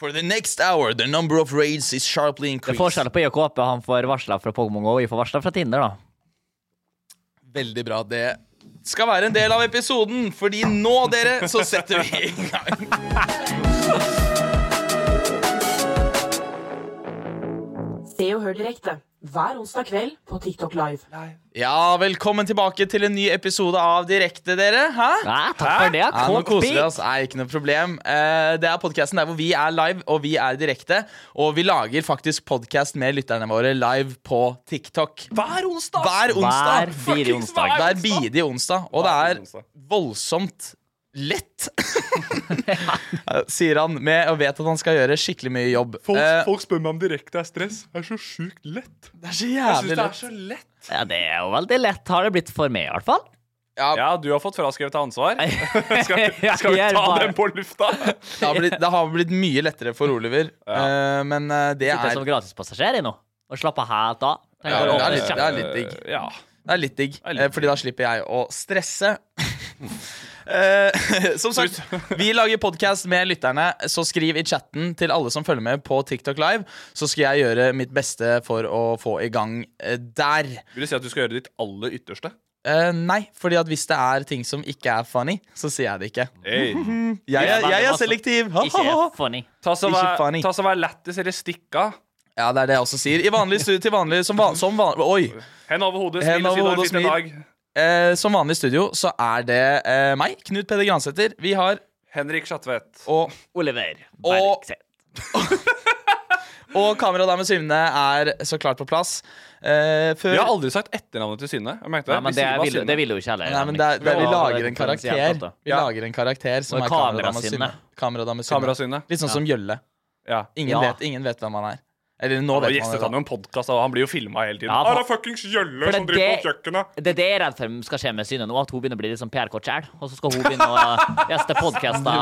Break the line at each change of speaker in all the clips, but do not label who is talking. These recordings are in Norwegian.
For the next hour, the number of raids is sharply
Det er
increased.
forskjell på IK Oppe. Han får varsla fra Pokémon GO, og vi får varsla fra Tinder, da.
Veldig bra. Det skal være en del av episoden, fordi nå, dere, så setter vi i gang.
Se og hør direkte hver onsdag kveld på TikTok Live.
Ja, velkommen tilbake til en ny episode av Direkte, dere. Hæ?
Ja, takk for det.
Ja, nå
Kåt
koser
pi.
vi oss. Nei, ikke noe problem. Eh, det er podkasten der hvor vi er live, og vi er direkte. Og vi lager faktisk podkast med lytterne våre live på TikTok.
Hver onsdag!
Hver onsdag.
Hver bidige
Fuckings
onsdag.
Hver bidige onsdag. Og det
Hver
er
onsdag.
voldsomt lett, sier han, med og vet at han skal gjøre skikkelig mye jobb.
Folk,
Eh,
folk spør meg om direkte er stress. Det er så sjukt lett.
det er så
Jeg synes
jævlig
det er
lett.
så lett.
Ja, det er jo veldig lett, har det blitt for meg, i hvert fall.
Ja,
Ja, du har fått fraskrevet ansvar. Skal,
Jeg
skal vi
gjør
ta
bare-
den på lufta?
det, har blitt, det har blitt mye lettere for Oliver, eh, men eh, det
Sitter sånn-
er
som gratispassasjer i nå og slapper helt av.
Ja, det er litt- det er
Tenker,
litt digg.
Eh, Ja.
Det er litt digg,
er litt
eh, fordi da slipper jeg å stresse. Eh, som sagt, vi lager podkast med lytterne, så skriv i chatten til alle som følger med på TikTok Live, så skal jeg gjøre mitt beste for å få i gang eh, der.
Vil du si at du skal gjøre ditt aller ytterste?
Eh, nei, fordi at hvis det er ting som ikke er funny, så sier jeg det ikke.
Hey.
Jeg, er- jeg er
altså,
selektiv!
Ikke funny.
Ta så
Ikke
vær,
funny.
ta så vær lættis eller stikk av.
Ja, det er det jeg også sier. I vanlig studio til vanlig som, van, som van, Oi!
Hen over hodet,
Hen
smil og si du
over
har
hodet,
en fin
smil.
dag.
Eh, som vanlig studio så er det eh, meg, Knut Peder Gransæter. Vi har
Henrik Schatvedt.
og
Oliver
Og-
Bergseth.
Og kameradame Synne er så klart på plass. Eh, før
Vi har aldri sagt etternavnet til Synne. Jeg merkte
Nei,
det.
men
Vi
det,
sier bare
vil,
Synne.
det vil jo ikke heller.
Nei, men det er, det er, vi
Ja, det
lager
er
en
potensielt,
karakter.
da.
Vi
Ja.
lager en karakter som
Og
er
kamera
kameradame Synne.
Synne.
Kameradame
Kamera
Synne.
Synne.
Litt sånn som Gjølle.
Ja.
Ingen,
Ja.
vet, ingen vet hvem han er. Eller nå
Nå
vet man
gjestet han jo
det. da.
en podkast, og han blir jo filma hele tiden.
Ja,
ah,
for-
det er fuckings Gjølle
For
som
det-
driver på kjøkkenet!
Det er det jeg er redd for skal skje med Synne nå, at hun begynner å bli litt som PR Kortskjær. Og så skal hun begynne å gjeste podkaster
Vi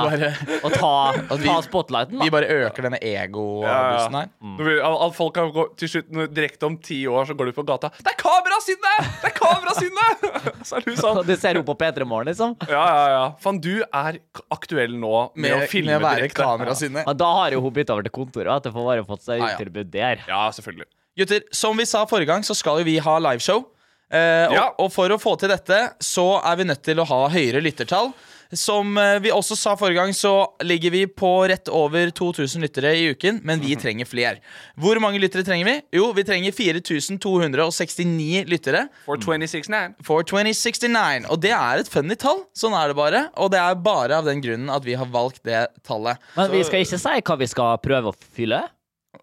og ta,
vi-
ta spotlighten.
bare, vi
Da.
bare øker denne
Ja, Mm.
ego-bussen
ja.
her.
Nå blir- al- al- Folk kan gå til slutt når- direkte om ti år, så går du på gata 'Det er kamera, Synne! Det er kamera, Synne!' Så er du
Og
sånn.
det ser hun på P3 Morgen, liksom.
Ja, ja, ja. Faen, du er k- aktuell nå med,
Med,
å filme
med å være
direkte.
Kamera Synne.
Men da har jo hun bytta over til kontoret, at det får bare fått seg
Ja, ja.
uttilbud der.
Ja, selvfølgelig.
Gutter, som vi sa forrige gang, så skal jo vi ha liveshow. Eh,
Ja.
og, og for å få til dette, så er vi nødt til å ha høyere lyttertall. Som eh, vi også sa forrige gang, så ligger vi på rett over 2000 lyttere i uken, men
Mhm.
vi trenger fler. Hvor mange lyttere trenger vi? Jo, vi trenger 4269 lyttere
For 26 now.
for 2069. Og det er et funny tall. Sånn er det bare. Og det er bare av den grunnen at vi har valgt det tallet.
Men vi skal ikke si hva vi skal prøve å fylle.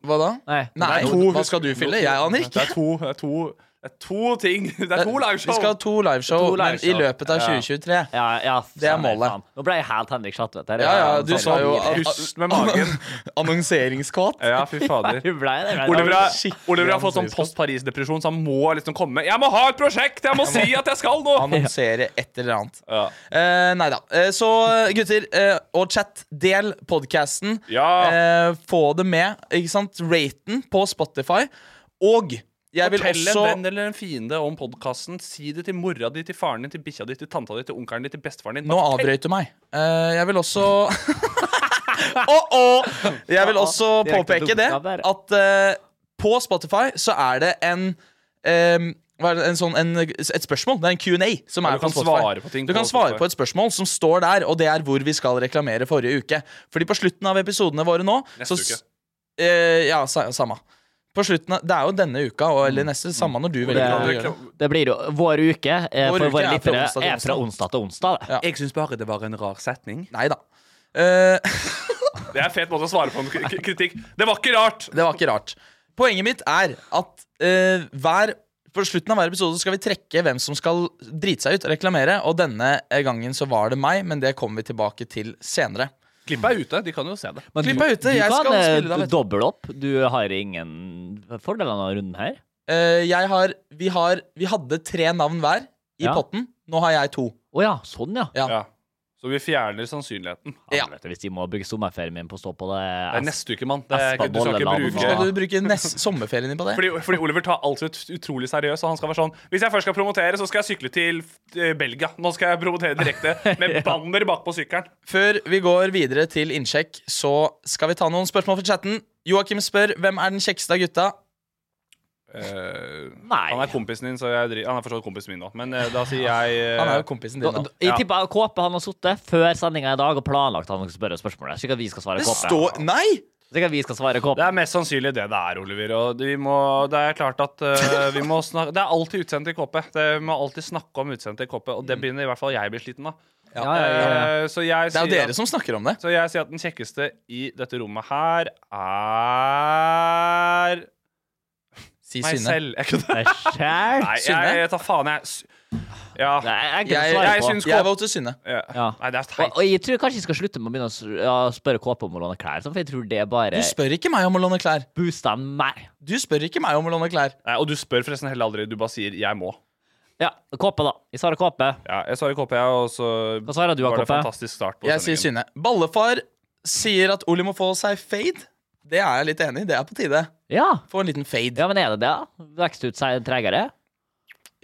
Hva da?
Nei.
Nei,
Det er to-
hva skal du fylle? Jeg aner ikke.
Det er to, det er to, det er to ting. Det er to
Eh, Vi skal ha
liveshow.
to liveshow
To
men i
liveshow.
løpet av
Ja.
2023.
Ja, ja,
Det er
stemmer,
målet.
faen. Nå ble jeg helt Henrik Schatvedt. her.
Ja, ja,
Jeg-
du sa jo
Sorry.
Pust sånn med magen.
Annonseringskåt.
Ja, fy fader.
Hun ble det. men-
Oliver har,
Skikkelig
Oliver har fått sånn
annonseringsskott.
post Paris-depresjon, så han må liksom komme. 'Jeg må ha et prosjekt! Jeg må si at jeg skal noe!'
Annonsere et eller annet.
Ja.
Eh, nei da. Eh, så gutter eh, og chat, del podkasten.
Ja.
Eh, få det med. Ikke sant? Raten på Spotify. Og jeg vil
Fortell
også
en venn eller en fiende om podkasten. Si det til mora di, til faren din, til bikkja di, til tanta di, til onkelen din, til bestefaren din.
Nå avbrøt du meg. Eh, jeg vil også Å-å! Jeg vil også
Direkte
påpeke det
dumskap der.
at eh, på Spotify så er det en em, hva er det, en sånn, en, et spørsmål. Det er en Q&A. som
Ja,
er
du kan
på Spotify.
svare på ting
Du
på
kan svare
Spotify.
på et spørsmål som står der, og det er hvor vi skal reklamere forrige uke. Fordi på slutten av episodene våre nå
Neste
så,
uke.
eh, ja, sa, samme. På slutten av, det er jo denne uka og,
Mm.
eller neste. Samme når du velger. å gjøre det.
Det blir jo Vår uke eh,
Vår
for
uke
våre
er fra
lyttere
onsdag til
er fra
onsdag.
onsdag til onsdag.
Ja.
Jeg syns bare det var en rar setning.
Nei da. Eh,
Det er en fet måte å svare på en k- k- kritikk. Det var ikke rart!
Det var ikke rart. Poenget mitt er at eh, hver På slutten av hver episode skal vi trekke hvem som skal drite seg ut, reklamere. Og denne gangen så var det meg, men det kommer vi tilbake til senere.
Klippet er ute, de kan jo se det.
Men du,
Klipp er ute,
du
jeg
kan
skal
eh,
spille deg, vet du.
doble opp. Du har ingen fordeler av denne runden her.
Eh, jeg har, vi, har, vi hadde tre navn hver i
Ja.
potten. Nå har jeg to.
Å ja, sånn ja.
Ja.
Ja. Så vi fjerner sannsynligheten.
Ja.
Helvete, Hvis de må bruke sommerferien min på å stå på det
Det er neste uke, mann. Det er ikke- Du skal ikke
Espa-bolleland.
bruke
Skal du bruke nest sommerferien din på det?
fordi, fordi Oliver tar alt ut utrolig seriøst. Og han skal være sånn Hvis jeg først skal promotere, så skal jeg sykle til eh, Belgia. Nå skal jeg promotere direkte med banner bakpå sykkelen.
Før vi går videre til innsjekk, så skal vi ta noen spørsmål fra chatten. Joakim spør hvem er den kjekkeste av gutta.
Eh,
Nei.
Han er kompisen din, så jeg dri- Han er forstått kompisen min, da. Men eh, da sier jeg eh,
Han er jo kompisen din
Da-
nå.
da- Jeg
Ja.
tipper Kåpe han har sittet før sendinga i dag og planlagt han skal spørre spørsmålet. Slik at vi skal svare
Det
Kåpe.
står Nei!
Slik at vi skal svare
Det
Kåpe.
er mest sannsynlig det det er, Oliver. Og det- vi må, det er klart at eh, vi må snakke Det er alltid utsendt i KP. Det, vi må alltid snakke om utsendt i KP, og det
Mm.
begynner i hvert fall jeg å bli sliten av.
Ja, ja, ja, ja.
Eh, så jeg
Det er jo
sier
dere som snakker om det.
Så jeg sier at den kjekkeste i dette rommet her er
Si
meg
Synne.
selv. Jeg kødder.
Det er skjært.
Nei, jeg,
Synne?
jeg tar faen, jeg. s- Ja.
Det er
Jeg-
enkelt å svare
jeg
på.
syns-
Jeg voter Synne.
ja.
Ja.
Nei, det er
Og,
teit.
og jeg tror kanskje jeg skal slutte med å begynne å s- ja, spørre Kåpe om å låne klær. sånn, For jeg tror det bare
Du spør ikke meg om å låne klær.
booster meg.
Du spør ikke meg om å låne klær.
Nei, og du spør forresten heller aldri. Du bare sier 'jeg må'.
Ja, Kåpe, da. Jeg svarer Kåpe.
Ja, jeg svarer KP, og så
Hva svarer du,
var det
Jakob?
fantastisk start på
Jeg sier Synne.
sendingen.
Ballefar sier at Oli må få seg fade. Det er jeg litt enig i. Det er på tide.
Ja.
Få en liten fade.
ja, men er det det? da? Vokste ut seg tregere?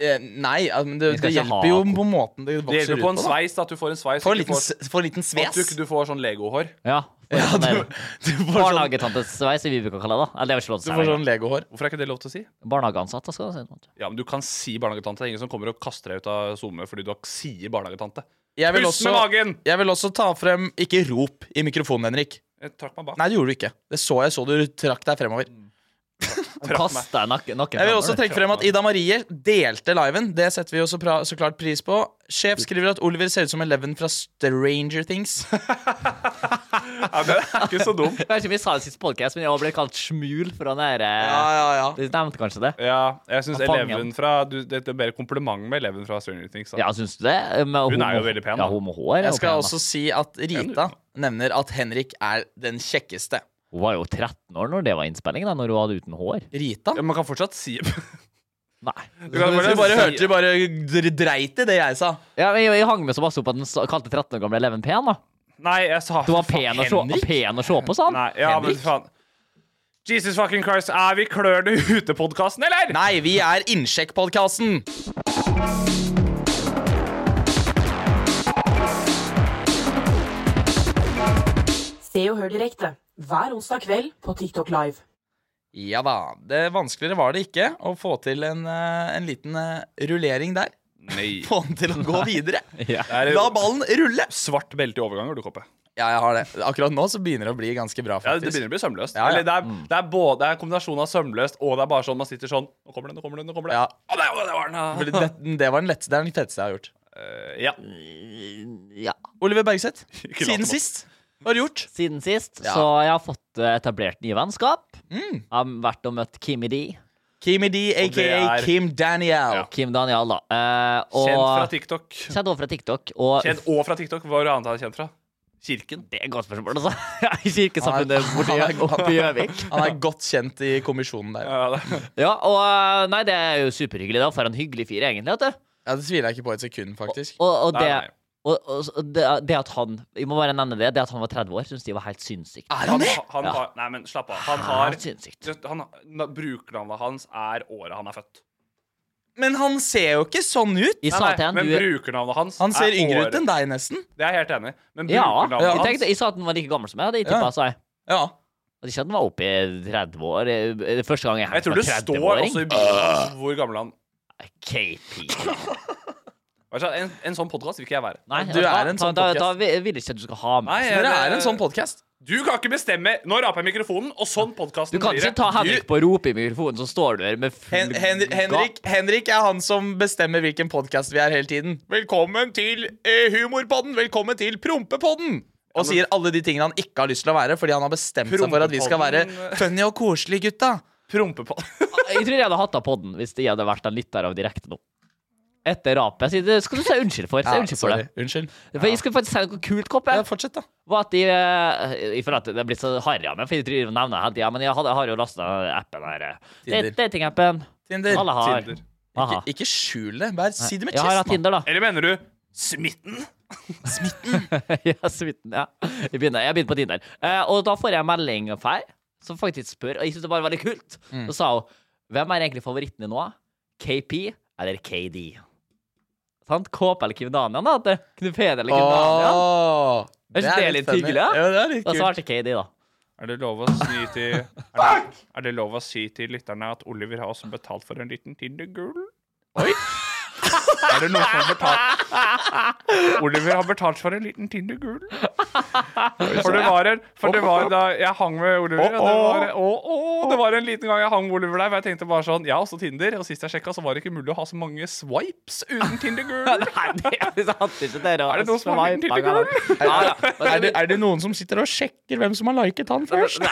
Eh, nei, altså, men det,
Vi skal
det
ikke ha
hjelper jo på måten det
Det
vokser
hjelper
ut
på
på.
en
da.
sveis, da, at du får en sveis.
Få
at
en
du
liten,
får-
s- få en liten
At du,
sves.
ikke- du får sånn legohår.
Ja.
Ja,
Sånn
du,
der
du får sånn,
Barnehagetantes-sveis, som vi bruker å kalle det. da. Eller det er vel ikke lov
du
til å
får
si.
sånn legohår.
Hvorfor er ikke det lov til å si?
Barnehageansatt, da skal du si. noe.
Ja, men Du kan si barnehagetante. Det er ingen som kommer og kaster deg ut av SoMe fordi du har- sier barnehagetante.
Jeg vil,
Pust
også,
med magen!
jeg vil også ta frem Ikke rop i mikrofonen, Henrik.
Jeg trakk meg bak.
Nei, det gjorde du ikke. Det så jeg så du trakk deg fremover.
Kast deg nakken nakken
Jeg vil
fremover,
også
du.
trekke frem at Ida Marie delte liven. Det setter vi jo så, pra- så klart pris på. Sjef skriver at Oliver ser ut som Eleven fra Stranger Things.
Ja, det er ikke så dum.
Jeg vet ikke om jeg sa det sist podcast, men jeg ble kalt smul fra den der eh,
ja,
Du nevnte kanskje det?
Ja, jeg synes
Ja, fang
eleven
han.
fra du, Det det er bedre kompliment med eleven fra Stranger Things. Da.
Ja, syns du det? Med
Hun er jo
homo-
veldig pen, da.
Ja, hun med hår. er jo
Jeg skal
pen, da.
også si at Rita nevner at Henrik er den kjekkeste.
Hun var jo 13 år når det var innspilling, da, når hun hadde uten hår.
Rita?
Ja, Man kan fortsatt si Du
Nei.
kan
Du bare
si-
hørte du bare dr- dreit i det jeg sa.
Ja, men jeg, jeg hang meg så masse opp at hun sa- kalte 13 år gamle Eleven pen, da.
Nei, jeg sa
Du var pen å se,
Henrik?
pen å se på, sa han.
Nei, ja, men
Henrik?
faen. Jesus fucking Christ, er vi klørne ute-podkasten, eller?
Nei, vi er Innsjekkpodkasten.
Se og hør direkte hver onsdag kveld på TikTok Live.
Ja da. Det vanskeligere var det ikke å få til en, eh, en liten eh, rullering der.
Nei.
Få den til å gå videre.
Ja.
Det er
La ballen rulle.
svart belte i overganger, du, Koppe.
Ja, jeg har det. Akkurat nå så begynner det å bli ganske bra,
Ja, det
faktisk.
begynner å bli sømløst.
Ja, Mm. ja.
Eller det er, det er både det er en kombinasjon av sømløst og det er bare sånn man sitter sånn Nå kommer det, nå kommer det, nå kommer det.
Ja.
Å, der, å, der var den, ja.
Fordi det, det var den letteste, det er den tetteste jeg har gjort.
Eh, ja.
ja.
Oliver Bergseth,
Ikke late
siden
som.
sist. Hva har du gjort?
Siden sist,
Ja.
så jeg har fått eh, etablert nye vennskap.
Mm.
Jeg har vært og møtt Kimi D.
Kimi D, aka
er-
Kim Daniel.
Ja.
Kim Daniel, da. Eh, og,
Kjent fra TikTok.
Kjent også fra TikTok. Og
Kjent og fra TikTok. Hva er det annet han er kjent fra? Kirken.
Det er et godt spørsmål, altså. I kirkesamfunnet borti oppe i Gjøvik.
Han er godt kjent i kommisjonen der.
Ja, Eh, det.
Ja, og eh, nei, det er jo superhyggelig, da. For en hyggelig fyr, egentlig. Vet du.
Ja, Det tviler jeg ikke på et sekund, faktisk.
Og, og,
Nei,
det,
nei.
og, og og det, det at han Jeg må bare nevne det. Det at han var 30 år, syns de var helt sinnssykt.
Er
Han,
han det?
han
Ja.
har Nei, men slapp av. Han har
Helt sinnssykt.
Just- han, na- Brukernavnet hans er året han er født.
Men han ser jo ikke sånn ut.
Jeg sa
Nei,
til han,
men
du
brukernavnet hans
Han ser
er
yngre ut
året-
enn deg, nesten.
Det er jeg helt enig i. Men
Ja.
brukernavnet
Jeg,
hans
tenkte, jeg sa at han var like gammel som meg, og det tippa
Ja.
jeg, sa jeg.
Ja.
Og Ikke at han var oppe i 30 år. eh, Det er Første gang jeg
Jeg
hang
tror
med
det står også i
30-åring.
bildet hans hvor gammel han
KP.
Vet du hva, En, en sånn podkast vil ikke jeg være.
Nei,
Du
vet hva?
er en sånn
da, da, da
podcast.
vil jeg ikke at du skal ha
Nei,
meg.
jeg-
Men det
det-
er en sånn podkast.
Du kan ikke bestemme Nå raper jeg mikrofonen, og sånn podkasten
Du kan ikke ta Henrik på å rope i mikrofonen, så står du her med full
Hen Hen Henrik, Henrik er han som bestemmer hvilken podkast vi er hele tiden. Velkommen til eh, Humorpodden! Velkommen til Prompepodden! Og sier alle de tingene han ikke har lyst til å være, fordi han har bestemt seg for at vi skal være
Prompepodden.
funny og koselige, gutta.
Prompe på.
Jeg tror jeg hadde hatt av podden hvis jeg hadde vært en lytter av direkte nå. Etter rapet. sier det skal du si unnskyld for. Si unnskyld for det.
Unnskyld.
For jeg skulle faktisk si noe kult, Koppe.
Ja, fortsett, da.
Var at de eh, Jeg føler at det er blitt så harry av meg, for jeg tror jeg nevner det hele tida. Men jeg, hadde, jeg har jo lasta appen her. eh,
Tinder.
Datingappen.
Tinder.
Alle har.
Tinder.
Aha.
Ikke, ikke skjul det. Bare si det med
Ah. Jeg har hatt
chest.
Tinder, da.
Eller mener du smitten?
ja, smitten, ja. Jeg begynner, jeg begynner på Tinder. Eh, og da får jeg en melding av her, som faktisk spør, og jeg synes det bare var veldig kult. Så sa hun, hvem er egentlig favoritten din nå? KP eller KD? Sant? Kåp eller Kim Daniel, da? At det- Knut Peder eller Kim Daniel?
Åh,
Er ikke det litt
funny.
hyggelig, da?
Jo, det er litt
Da
kult.
svarte KD, da.
Er det lov å si til er det, er det lov å si til lytterne at Oliver har også betalt for en liten Tinder-gull? Oi! Er det noen som har betalt Oliver har betalt for en liten Tinder-gull. For det var en For det var da jeg hang med Oliver og det, var, å, å, det var en liten gang jeg hang med Oliver der, for jeg tenkte bare sånn Jeg har også Tinder, og sist jeg sjekka, så var det ikke mulig å ha så mange swipes uten Tinder-gull.
Nei, det er sant ikke det
Er det noen som har liten Tinder-gull?
Ja, ja. Men
Er det, er det noen som sitter og sjekker hvem som har liket han først?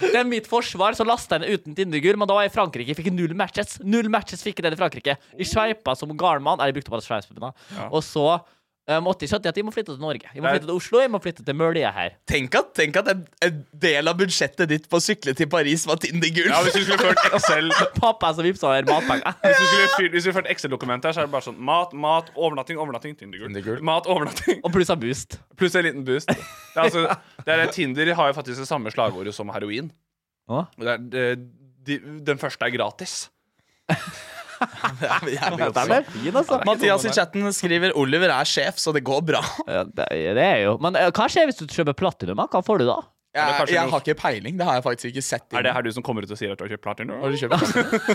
Det er mitt forsvar, så lasta jeg den uten Tindergur, men da var jeg i Frankrike. Fikk null matches. Null matches fikk jeg den i Frankrike. I sveipa som garnmann. Nei, jeg brukte bare sveipspinna. Og så eh, måtte jeg skjønne at jeg må flytte til Norge. Jeg må
Nei.
flytte til Oslo, jeg må flytte til Mølje her.
Tenk at, tenk at en, en del av budsjettet ditt på å sykle til Paris var Tinder-gull.
Ja, hvis du skulle ført Excel
Pappa som vippsa over matpenger.
Hvis du skulle fyrt, hvis du ført Excel-dokumentet her, så er det bare sånn mat, mat, overnatting, overnatting, Tindergull. Mat, overnatting,
Og pluss av boost.
pluss en liten boost. Det er altså, det er, Tinder har jo faktisk det samme slagordet som heroin.
Hå?
Og Det er, det, de, den første er gratis.
Den er fin, altså.
Mathias i chatten skriver Oliver er sjef, så det går bra.
Ja, det, det er jo Men eh, hva skjer hvis du kjøper platinum? da? Hva får du da?
Jeg,
kanskje noe-
jeg har ikke peiling. Det har jeg faktisk ikke sett.
Er det her du som kommer ut og sier at du har kjøpt platinum?
Har du kjøpt?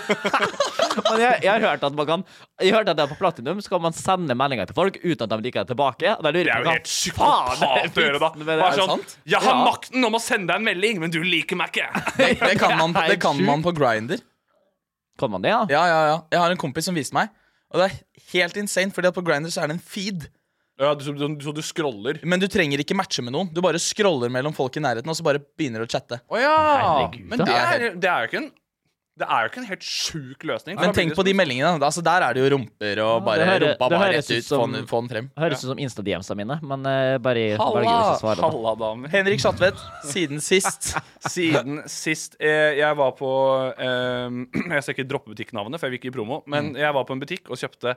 Men jeg, jeg har hørt at man kan Jeg har hørt at det er på platinum skal man sende meldinger til folk uten at de liker det tilbake. Og da lurer
Det
jeg på
er jo
hva
helt psykopat å gjøre, da.
vitsen med det
Bare
er.
sånn,
sant?
jeg har
Ja.
makten om å sende deg en melding, men du liker meg ikke.
Det kan man, det kan man på Grinder.
Kan man det, ja?
Ja, ja, ja. Jeg har en kompis som viste meg. Og det er helt insane, fordi at på Grinder så er det en feed.
Ja, du, så, du, så du scroller.
Men du trenger ikke matche med noen. Du bare scroller mellom folk i nærheten, og så bare begynner du å chatte.
Å ja!
Herregud,
Men
da.
det er, det er jo ikke en Det er jo ikke en helt sjuk løsning.
Men tenk på de meldingene. da. Altså, der er det jo rumper og bare
det hører-
rumpa
det
bare
høres
rett
ut
ut.
som-
Få, den, få den frem.
Høres ut som Insta-DM-sa mine, men eh, bare jeg
Halla!
velger ikke å svare. da.
Halla, damer.
Henrik Schatvedt, siden sist.
Siden sist eh, jeg var på eh, Jeg skal ikke droppe butikknavnet, for jeg vil ikke gi promo. Men jeg var på en butikk og kjøpte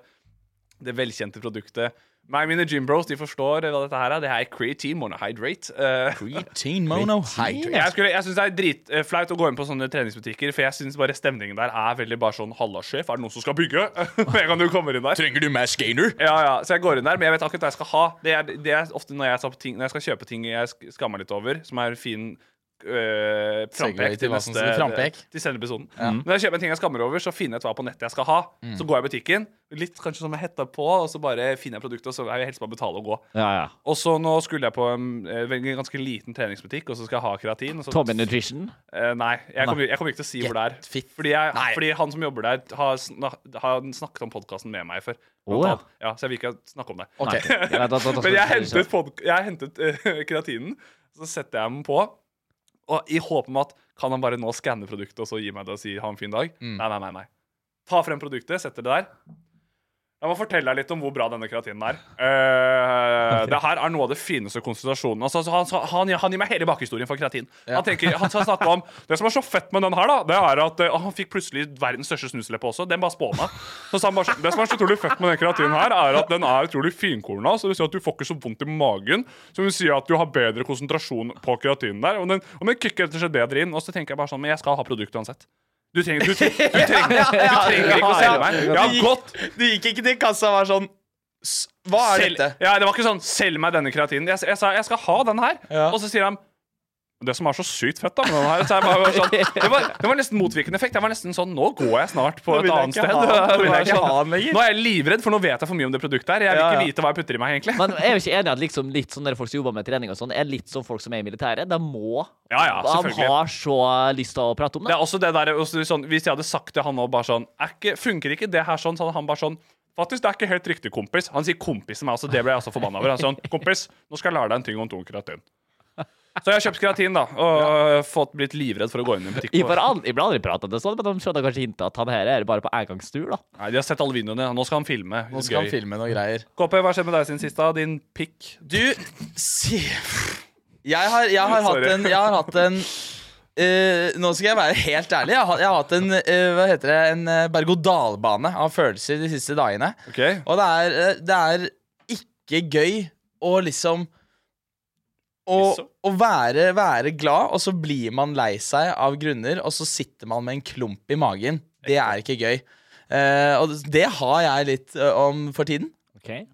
det velkjente produktet. Meg og mine gymbros de forstår eh, hva dette her er. Det her er creatine monohydrate. Eh,
Teen Monohydrate.
jeg, skulle, jeg synes Det er dritflaut å gå inn på sånne treningsbutikker, for jeg syns bare stemningen der er veldig bare sånn Halla, sjef, er det noen som skal bygge? Med en gang du kommer inn der.
Trenger du mass gainer?
Ja, ja, så jeg går inn der, men jeg vet akkurat hva jeg skal ha. Det er, det er ofte når jeg, tar på ting, når jeg skal kjøpe ting jeg sk- skammer litt over, som er fin øh,
Segway
frampek
til
til,
hva som
neste,
skal- frampek.
til selve episoden. Når jeg kjøper en ting jeg skammer over, så finner jeg ut hva på nettet jeg skal ha.
Mm.
Så går jeg i butikken, litt kanskje som jeg hetta på, og så bare finner jeg produktet, og så er jeg helst bare å betale og gå.
Ja, ja.
Og så nå skulle jeg på en, eh, veldig- ganske liten treningsbutikk, og så skal jeg ha kreatin. Og så,
Tommy Nutrition.
Eh, nei, jeg kommer, jeg kommer ikke til å si hvor det er.
Get fit.
Fordi, jeg,
Nei.
fordi han som jobber der, har, sna har snakket om podkasten med meg før. blant
Å, ja.
annet. ja, så jeg vil ikke snakke om det.
Ok.
Nei, da- da- da- da-
Men jeg hentet, pod- jeg hentet eh, kreatinen, så setter jeg den på. Og i håp om at kan han bare nå skanne produktet og så gi meg det og si ha en fin dag? Nei, nei, nei, nei. Ta frem produktet, setter det der. Jeg må fortelle deg litt om hvor bra denne kreatinen er. Eh, det her er noe av det fineste konsentrasjonen. Altså, altså, han, sa- han, han gir meg hele bakhistorien for kreatin. Han, tenker, han skal snakke om Det som er så fett med den her, da, det er at eh, han fikk plutselig verdens største snusleppe også. Den bare spåna. Så sa han bare, sånn, det som er så utrolig fett med den kreatinen her, er at den er utrolig finkorna. Så det vil si at du får ikke så vondt i magen. Så det vil si at du har bedre konsentrasjon på kreatinen der. Og den, og den kicker rett og slett bedre inn. Og så tenker jeg bare sånn, men jeg skal ha produktet uansett. Du trenger, du, trenger, du, trenger, du trenger ikke å selge meg. Ja, godt
Du gikk ikke til kassa og var sånn "S- Hva er
Selg-
dette?
Ja, det var ikke sånn 'selg meg denne kreatinen'. Jeg, jeg sa 'jeg skal ha den her', og så sier han det som er så sykt fett da med den her så jeg bare var sånn, det, var, det var nesten motvirkende effekt. Jeg var nesten sånn Nå går jeg snart på
Nå
et
vil jeg
annet
ikke
sted.
ha den.
Nå
Nå vil jeg
er jeg
ikke ha
sånn,
den lenger.
nå er jeg livredd, for nå vet jeg for mye om det produktet her. Jeg vil
Ja,
ikke
ja.
vite hva jeg putter i meg, egentlig.
Men jeg er jo ikke enig i at liksom litt sånn der folk som jobber med trening og sånn, er litt som folk som er i militæret. De må
Ja, ja,
De
selvfølgelig.
har så lyst til å prate om
Det
det.
er også det der, også sånn, Hvis jeg hadde sagt til han nå bare sånn er ikke, Funker ikke det her sånn? Så hadde han bare sånn Faktisk, det er ikke helt riktig, kompis. Han sier 'kompis' til meg også. Det ble jeg også forbanna over. Han sier sånn 'Kompis, nå skal jeg lære deg en ting om tung kreatin'. Så jeg har kjøpt kreatin, da, og øh, fått blitt livredd for å gå inn i en butikk.
Jeg ble aldri, jeg ble aldri pratet om det sånn, men de skjønner kanskje hintet at han her er bare på engangstur, da.
Nei, De har sett alle videoene. Nå skal han filme.
Nå skal han
Gøy.
filme noen greier.
KP, hva skjer med deg siden sist, da? Din pikk?
Du, si Jeg har, jeg har hatt
Sorry.
en, jeg har hatt en eh, nå skal jeg være helt ærlig. Jeg har, jeg har hatt en eh, hva heter det, en eh, berg-og-dal-bane av følelser de siste dagene.
OK?
Og det er, eh, det er ikke gøy å liksom å,
Liksom?
å være, være glad, og så blir man lei seg av grunner, og så sitter man med en klump i magen. Det er ikke gøy. Eh, og det har jeg litt eh, om for tiden.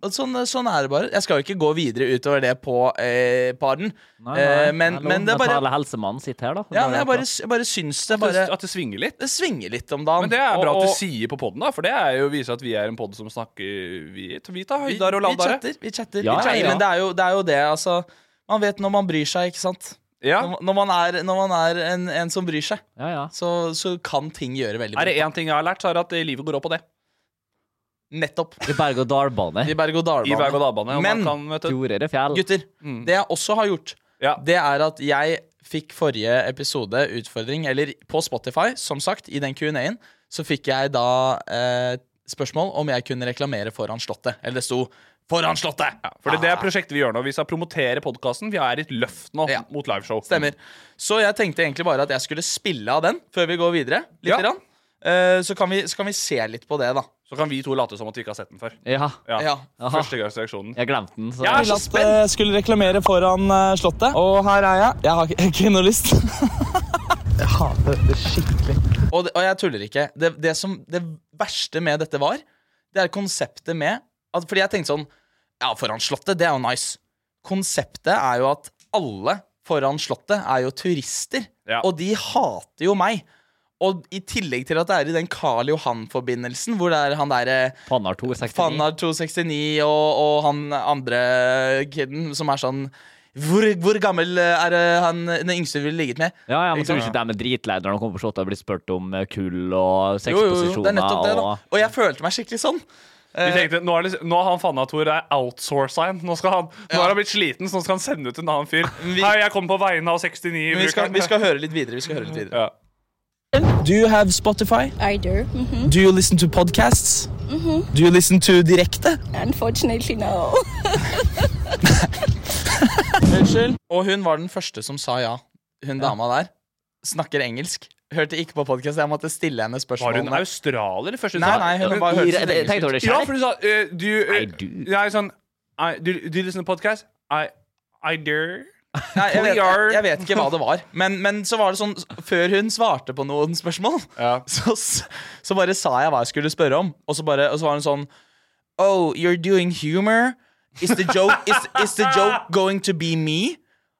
Og sånn, sånn er det bare. Jeg skal jo ikke gå videre utover det på, eh, på arden. Eh, men, men det er bare
Alle helsemannen sitter her, da.
ja, men jeg, bare, jeg bare syns det
At
bare
det- At det svinger litt?
Det svinger litt om dagen.
Men det er bra
og-
at du
og-
sier på poden, da, for det er jo viser at vi er en pod som snakker Vi, vi tar
vi,
høyder og
vi
ladere.
chatter. Vi chatter, vi
Ja,
chatter
ja, ja.
Men det er, jo, det er jo det, altså. Man vet når man bryr seg, ikke sant?
Ja.
Når, når man er, når man er en, en som bryr seg,
Ja, ja.
så, så kan ting gjøre veldig
Er
bra.
det én ting jeg har lært, så er det at eh, livet går opp på det.
Nettopp.
I berg-og-dal-bane.
I berg-og-dal-bane.
I berg-og-dal-bane. og
Men
man kan, vet du-
Fjorder og fjell.
gutter, det jeg også har gjort,
Mm. Ja.
det er at jeg fikk forrige episode utfordring, eller på Spotify, som sagt, i den Q&A-en, så fikk jeg da eh, spørsmål om jeg kunne reklamere foran Slottet. Eller det sto 'Foran Slottet'!
For det, det er prosjektet vi gjør nå. Vi skal promotere podkasten. Vi er i et løft nå
Ja.
mot liveshow.
Stemmer. Så jeg tenkte egentlig bare at jeg skulle spille av den før vi går videre. Litt
Ja.
grann. Eh, så, kan vi, så kan vi se litt på det, da.
Så kan vi to late som at vi ikke har sett den før.
Ja.
Ja.
Ja.
Aha.
Førstegangsreaksjonen.
Jeg glemte den, så
Jeg er så spent!
skulle reklamere foran eh, Slottet, og her er jeg. Jeg har ikke noe lyst. jeg hater dette skikkelig. Og, det, og jeg tuller ikke. Det, det, som, det verste med dette var, det er konseptet med at, Fordi jeg tenkte sånn Ja, foran Slottet, det er jo nice. Konseptet er jo at alle foran Slottet er jo turister,
Ja.
og de hater jo meg. Og i tillegg til at det er i den Karl Johan-forbindelsen, hvor det er han eh, derre
Fannar 269.
Fannar 269 og, og han andre kiden som er sånn hvor, hvor gammel er det han den yngste ville ligget med?
Ja, ja, men
Ikke
tror du
sant?
ikke de er dritlei når de kommer på shot og blir spurt om eh, kull
Jo, jo, jo, det er
og sexposisjoner
nettopp det, da.
og
Og jeg følte meg skikkelig sånn.
Vi tenkte, nå, er det, nå har han Fanna-Tor er outsourca igjen. Nå, skal han, nå har han blitt sliten, så nå skal han sende ut en annen fyr.
Vi-
Hei, jeg kommer på vegne av 69.
Men Vi skal,
brukeren.
vi skal høre litt videre. Vi skal høre litt videre. Mhm.
Ja.
Do you have Spotify?
I do. hmm
Do you listen to podcasts? Do you listen to direkte?
Unfortunately, no.
Unnskyld. Og hun var den første som sa ja. Hun dama der snakker engelsk. Hørte ikke på podkast. Jeg måtte stille henne
Var
spørsmål.
hun australier? Først
Nei, nei, hun bare hørte
Jeg- jeg tenkte over det
Ja,
selv.
for du sa eh, du, eh,
I do.
Nei, sånn I, do, do you listen to podcast? I, I dare.
Nei, jeg, vet,
Clear.
jeg vet ikke hva det var. Men, men så var det sånn Før hun svarte på noen spørsmål,
Ja.
så, så bare sa jeg hva jeg skulle spørre om. Og så, bare, og så var hun sånn Oh, you're doing humor? Is the joke, is, is the joke going to be me?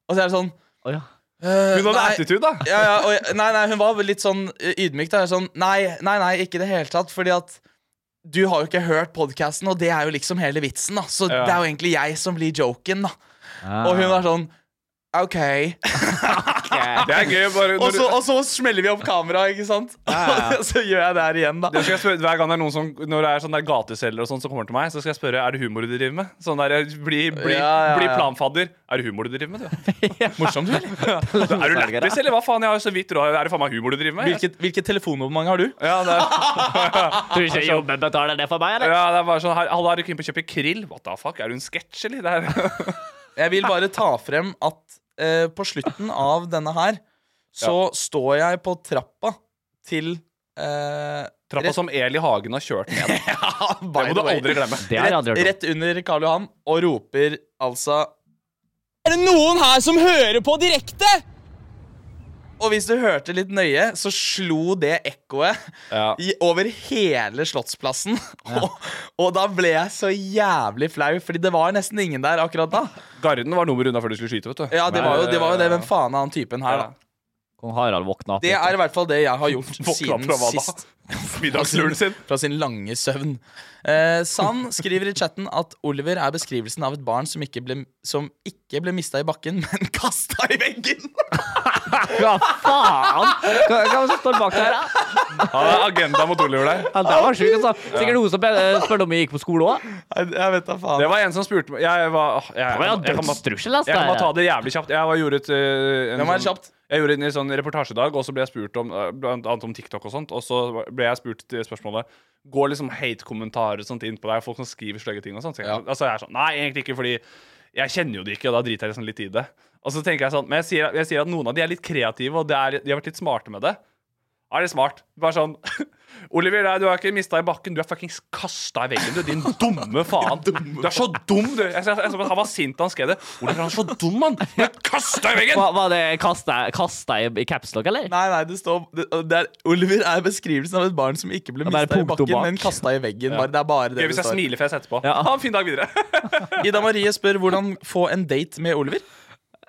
Og så er det sånn
Å, ja.
«Øh,
Hun hadde
nei.»
attitude, da.
ja, ja, og, jeg- nei, nei, hun var vel litt sånn eh, ydmyk. Da. Sånn, nei, nei, nei, ikke i det hele tatt. Fordi at du har jo ikke hørt podkasten, og det er jo liksom hele vitsen. da Så
Ja.
det er jo egentlig jeg som blir joken. da Og hun var sånn OK.
Det er gøy. Bare,
Og
når
så,
du,
og så smeller vi opp kameraet, ikke sant? Og så gjør jeg det her igjen, da.
det skal jeg spørre, hver gang det er noen som Når det er sånne der gateselgere og sånn som kommer til meg, så skal jeg spørre er det humor du driver med. Sånn der, Bli, bli,
Ja, ja,
bli
ja.
planfadder. Er det humor du driver med, du? Morsomt, du, eller? Er du lættis, eller hva faen? Jeg har jo så vidt råd. Er det faen meg humor du driver med?
Hvilket, hvilket telefonnummer har du?
Ja, det er,
Tror du ikke jobben betaler det for meg, eller?
ja, det er bare sånn her, Halla, er du keen på å kjøpe krill? What the fuck? Er du en sketsj, eller? Det er,
Jeg vil bare ta frem at eh, på slutten av denne her så står jeg på trappa til eh,
trappa som Eli Hagen har kjørt ned.
by
Det må
the
du
way.
aldri glemme.
Det har jeg aldri
Rett,
hørt om.
rett under Karl Johan og roper altså Er det noen her som hører på direkte?! Og hvis du hørte litt nøye, så slo det ekkoet
Ja.
i, over hele Slottsplassen. og, og da ble jeg så jævlig flau, fordi det var nesten ingen der akkurat da.
Garden var nummeret unna før du skulle skyte, vet du.
Ja, det var jo det. Var jo det Hvem faen er han typen her, da?
Kong Harald våkna opp.
Det er i hvert fall det jeg har gjort
Våkna
siden
fra hva da?
sist.
Middagsluren sin.
Fra sin lange søvn. Eh, Sand skriver i chatten at Oliver er beskrivelsen av et barn som ikke ble, som ikke ble mista i bakken, men kasta i veggen.
Hva faen? Hva, hva er det som står bak der? da?
Han er agenda mot Oliver der.
Ja, det var sjukt, altså. Sikkert hun som be- spurte om jeg gikk på skole òg.
Jeg, jeg vet da faen.
Det var en som spurte meg Jeg var åh, jeg,
var jo
jeg kan bare-
dødstrussel, ass,
Jeg kan
det
bare
her.
ta det jævlig kjapt. Jeg var, gjorde et, eh, en
Den var
sånn-
kjapt.
Jeg gjorde en sånn reportasjedag, og så ble jeg spurt om eh, blant annet om TikTok og sånt. Og så ble jeg spurt til spørsmålet Går liksom hate-kommentarer og sånt inn på deg, folk som skriver stygge ting og sånt. Så jeg,
Ja.
altså, jeg er sånn Nei, egentlig ikke, fordi jeg kjenner jo de ikke, og da driter jeg liksom litt i det. Og så tenker jeg sånn Men jeg sier, jeg sier at noen av de er litt kreative, og det er, de har vært litt smarte med det. Er det smart? Bare sånn Oliver, nei, du har ikke mista i bakken. Du er fuckings kasta i veggen, du. Din dumme faen. Du er så dum, du. Jeg, jeg, jeg, så- han var sint da han skrev det. Oliver, han er så dum, han. Du er kasta i veggen!
Hva, var det kasta kasta i, i capslock, eller?
Nei, nei, det står det, det er, Oliver er beskrivelsen av et barn som ikke ble
er
mista i
punktum
bakken,
bak.
men kasta i veggen. Bare, det er bare det
Gøy hvis
det
jeg
står.
smiler fjes etterpå.
Ja.
Ha en fin dag videre.
Ida Marie spør hvordan få en date med Oliver.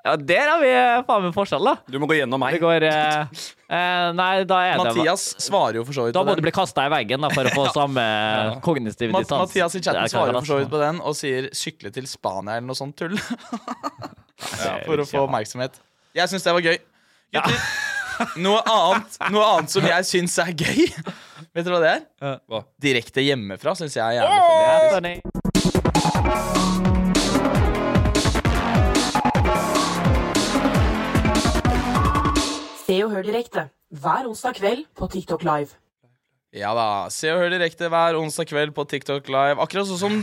Ja, der har vi eh, faen meg forskjell, da.
Du må gå gjennom
Det
meg.
går eh, eh, Nei, da er det
Mathias svarer jo for så vidt
Da
på
må du
den.
bli kasta i veggen da, for å få samme kognitive
Ma-
distans.
Mathias i
Det
chatten
er
svarer jo for så
kanskje
vidt på den og sier 'sykle til Spania' eller noe sånt tull.
det.
for å få oppmerksomhet. Jeg syns det var gøy. Gutter, noe, annet, noe annet som jeg syns er gøy, vet dere hva det er?
Hva?
Direkte hjemmefra syns jeg er jævlig funny.
Funny.
Se og hør direkte hver onsdag kveld på TikTok Live.
Ja da. Se og hør direkte hver onsdag kveld på TikTok Live. Akkurat sånn som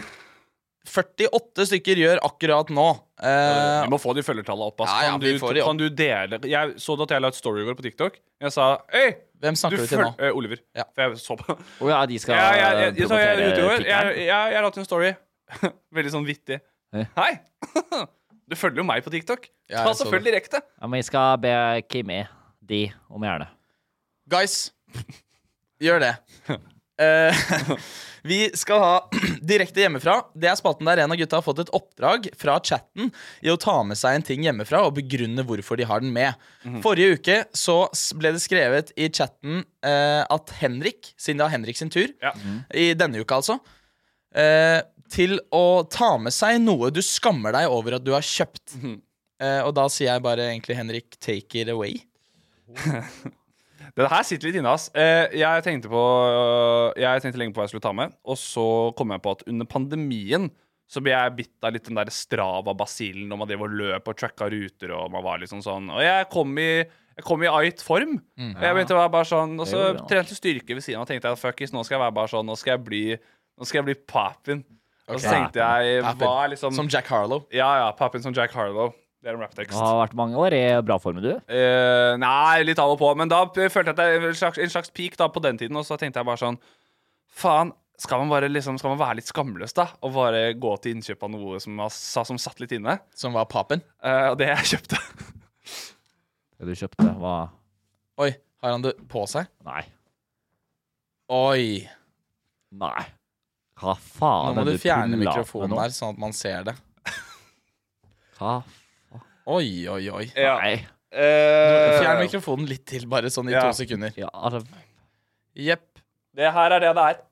48 stykker gjør akkurat nå. Eh,
Vi må få de følgertallene opp. ass.
Ja, ja,
Kan,
vi
du,
får de opp.
kan du dele Jeg så at jeg la ut story i går på TikTok. Jeg sa Hei!
hvem
Du
snakker du, til
følger
nå?
eh, Oliver.
Ja.
For jeg så på
Å ja, de skal
Ja, jeg, jeg, jeg, så jeg,
promotere
jeg, jeg,
tikkeren.
jeg, jeg, jeg la ut en story. Veldig sånn vittig.
Ja.
Hei! Du følger jo meg på TikTok.
Ja,
Ta
jeg så
selvfølgelig direkte.
Ja, men jeg skal be Kimi, de, om å gjøre det.
Guys, gjør det. Eh, vi skal ha direkte hjemmefra. Det er spalten der en av gutta har fått et oppdrag fra chatten i å ta med seg en ting hjemmefra og begrunne hvorfor de har den med.
Mhm.
Forrige uke så s- ble det skrevet i chatten eh, at Henrik, siden det var Henrik sin tur,
Ja.
i denne uka altså, eh, til å ta med seg noe du skammer deg over at du har kjøpt.
Mhm.
Eh, og da sier jeg bare egentlig Henrik, take it away.
Det her sitter litt inne, ass. Eh, jeg, tenkte på, eh, jeg tenkte lenge på hva jeg skulle ta med, og så kom jeg på at under pandemien så ble jeg bitt av litt den der Strava-basillen når man drev og løp og tracka ruter og man var liksom sånn Og jeg kom i jeg kom i ait form.
Mm.
Og jeg begynte å være bare sånn Og så
Det gjorde du,
trente styrke ved siden av og tenkte jeg, fuckis, nå skal jeg være bare sånn Nå skal jeg bli Nå skal jeg bli papen. Og så tenkte jeg
Papen.
hva er liksom
Som Jack Harlow.
Ja ja, papen som Jack Harlow. Det er en rapptekst.
Du har vært mange år i bra form, du.
Eh, nei, litt av og på. Men da p- følte jeg at det var en slags, en slags peak da, på den tiden. Og så tenkte jeg bare sånn Faen, skal man bare liksom Skal man være litt skamløs, da? Og bare gå til innkjøp av noe som, har- sa- som satt litt inne?
Som var papen.
Eh, Og det jeg kjøpte
Det du kjøpte, var
Oi, har han det på seg?
Nei.
Oi.
Nei. Hva
Nå
faen
må
er
du fjerne
pulla opp med
mikrofonen
nå?
der, sånn at man ser det.
Hva?
Oi, oi, oi.
Ja.
Nei.
Fjern
Eh,
mikrofonen litt til, bare sånn i
ja.
to sekunder.
Ja, altså,
Jepp.
Det her er det det er.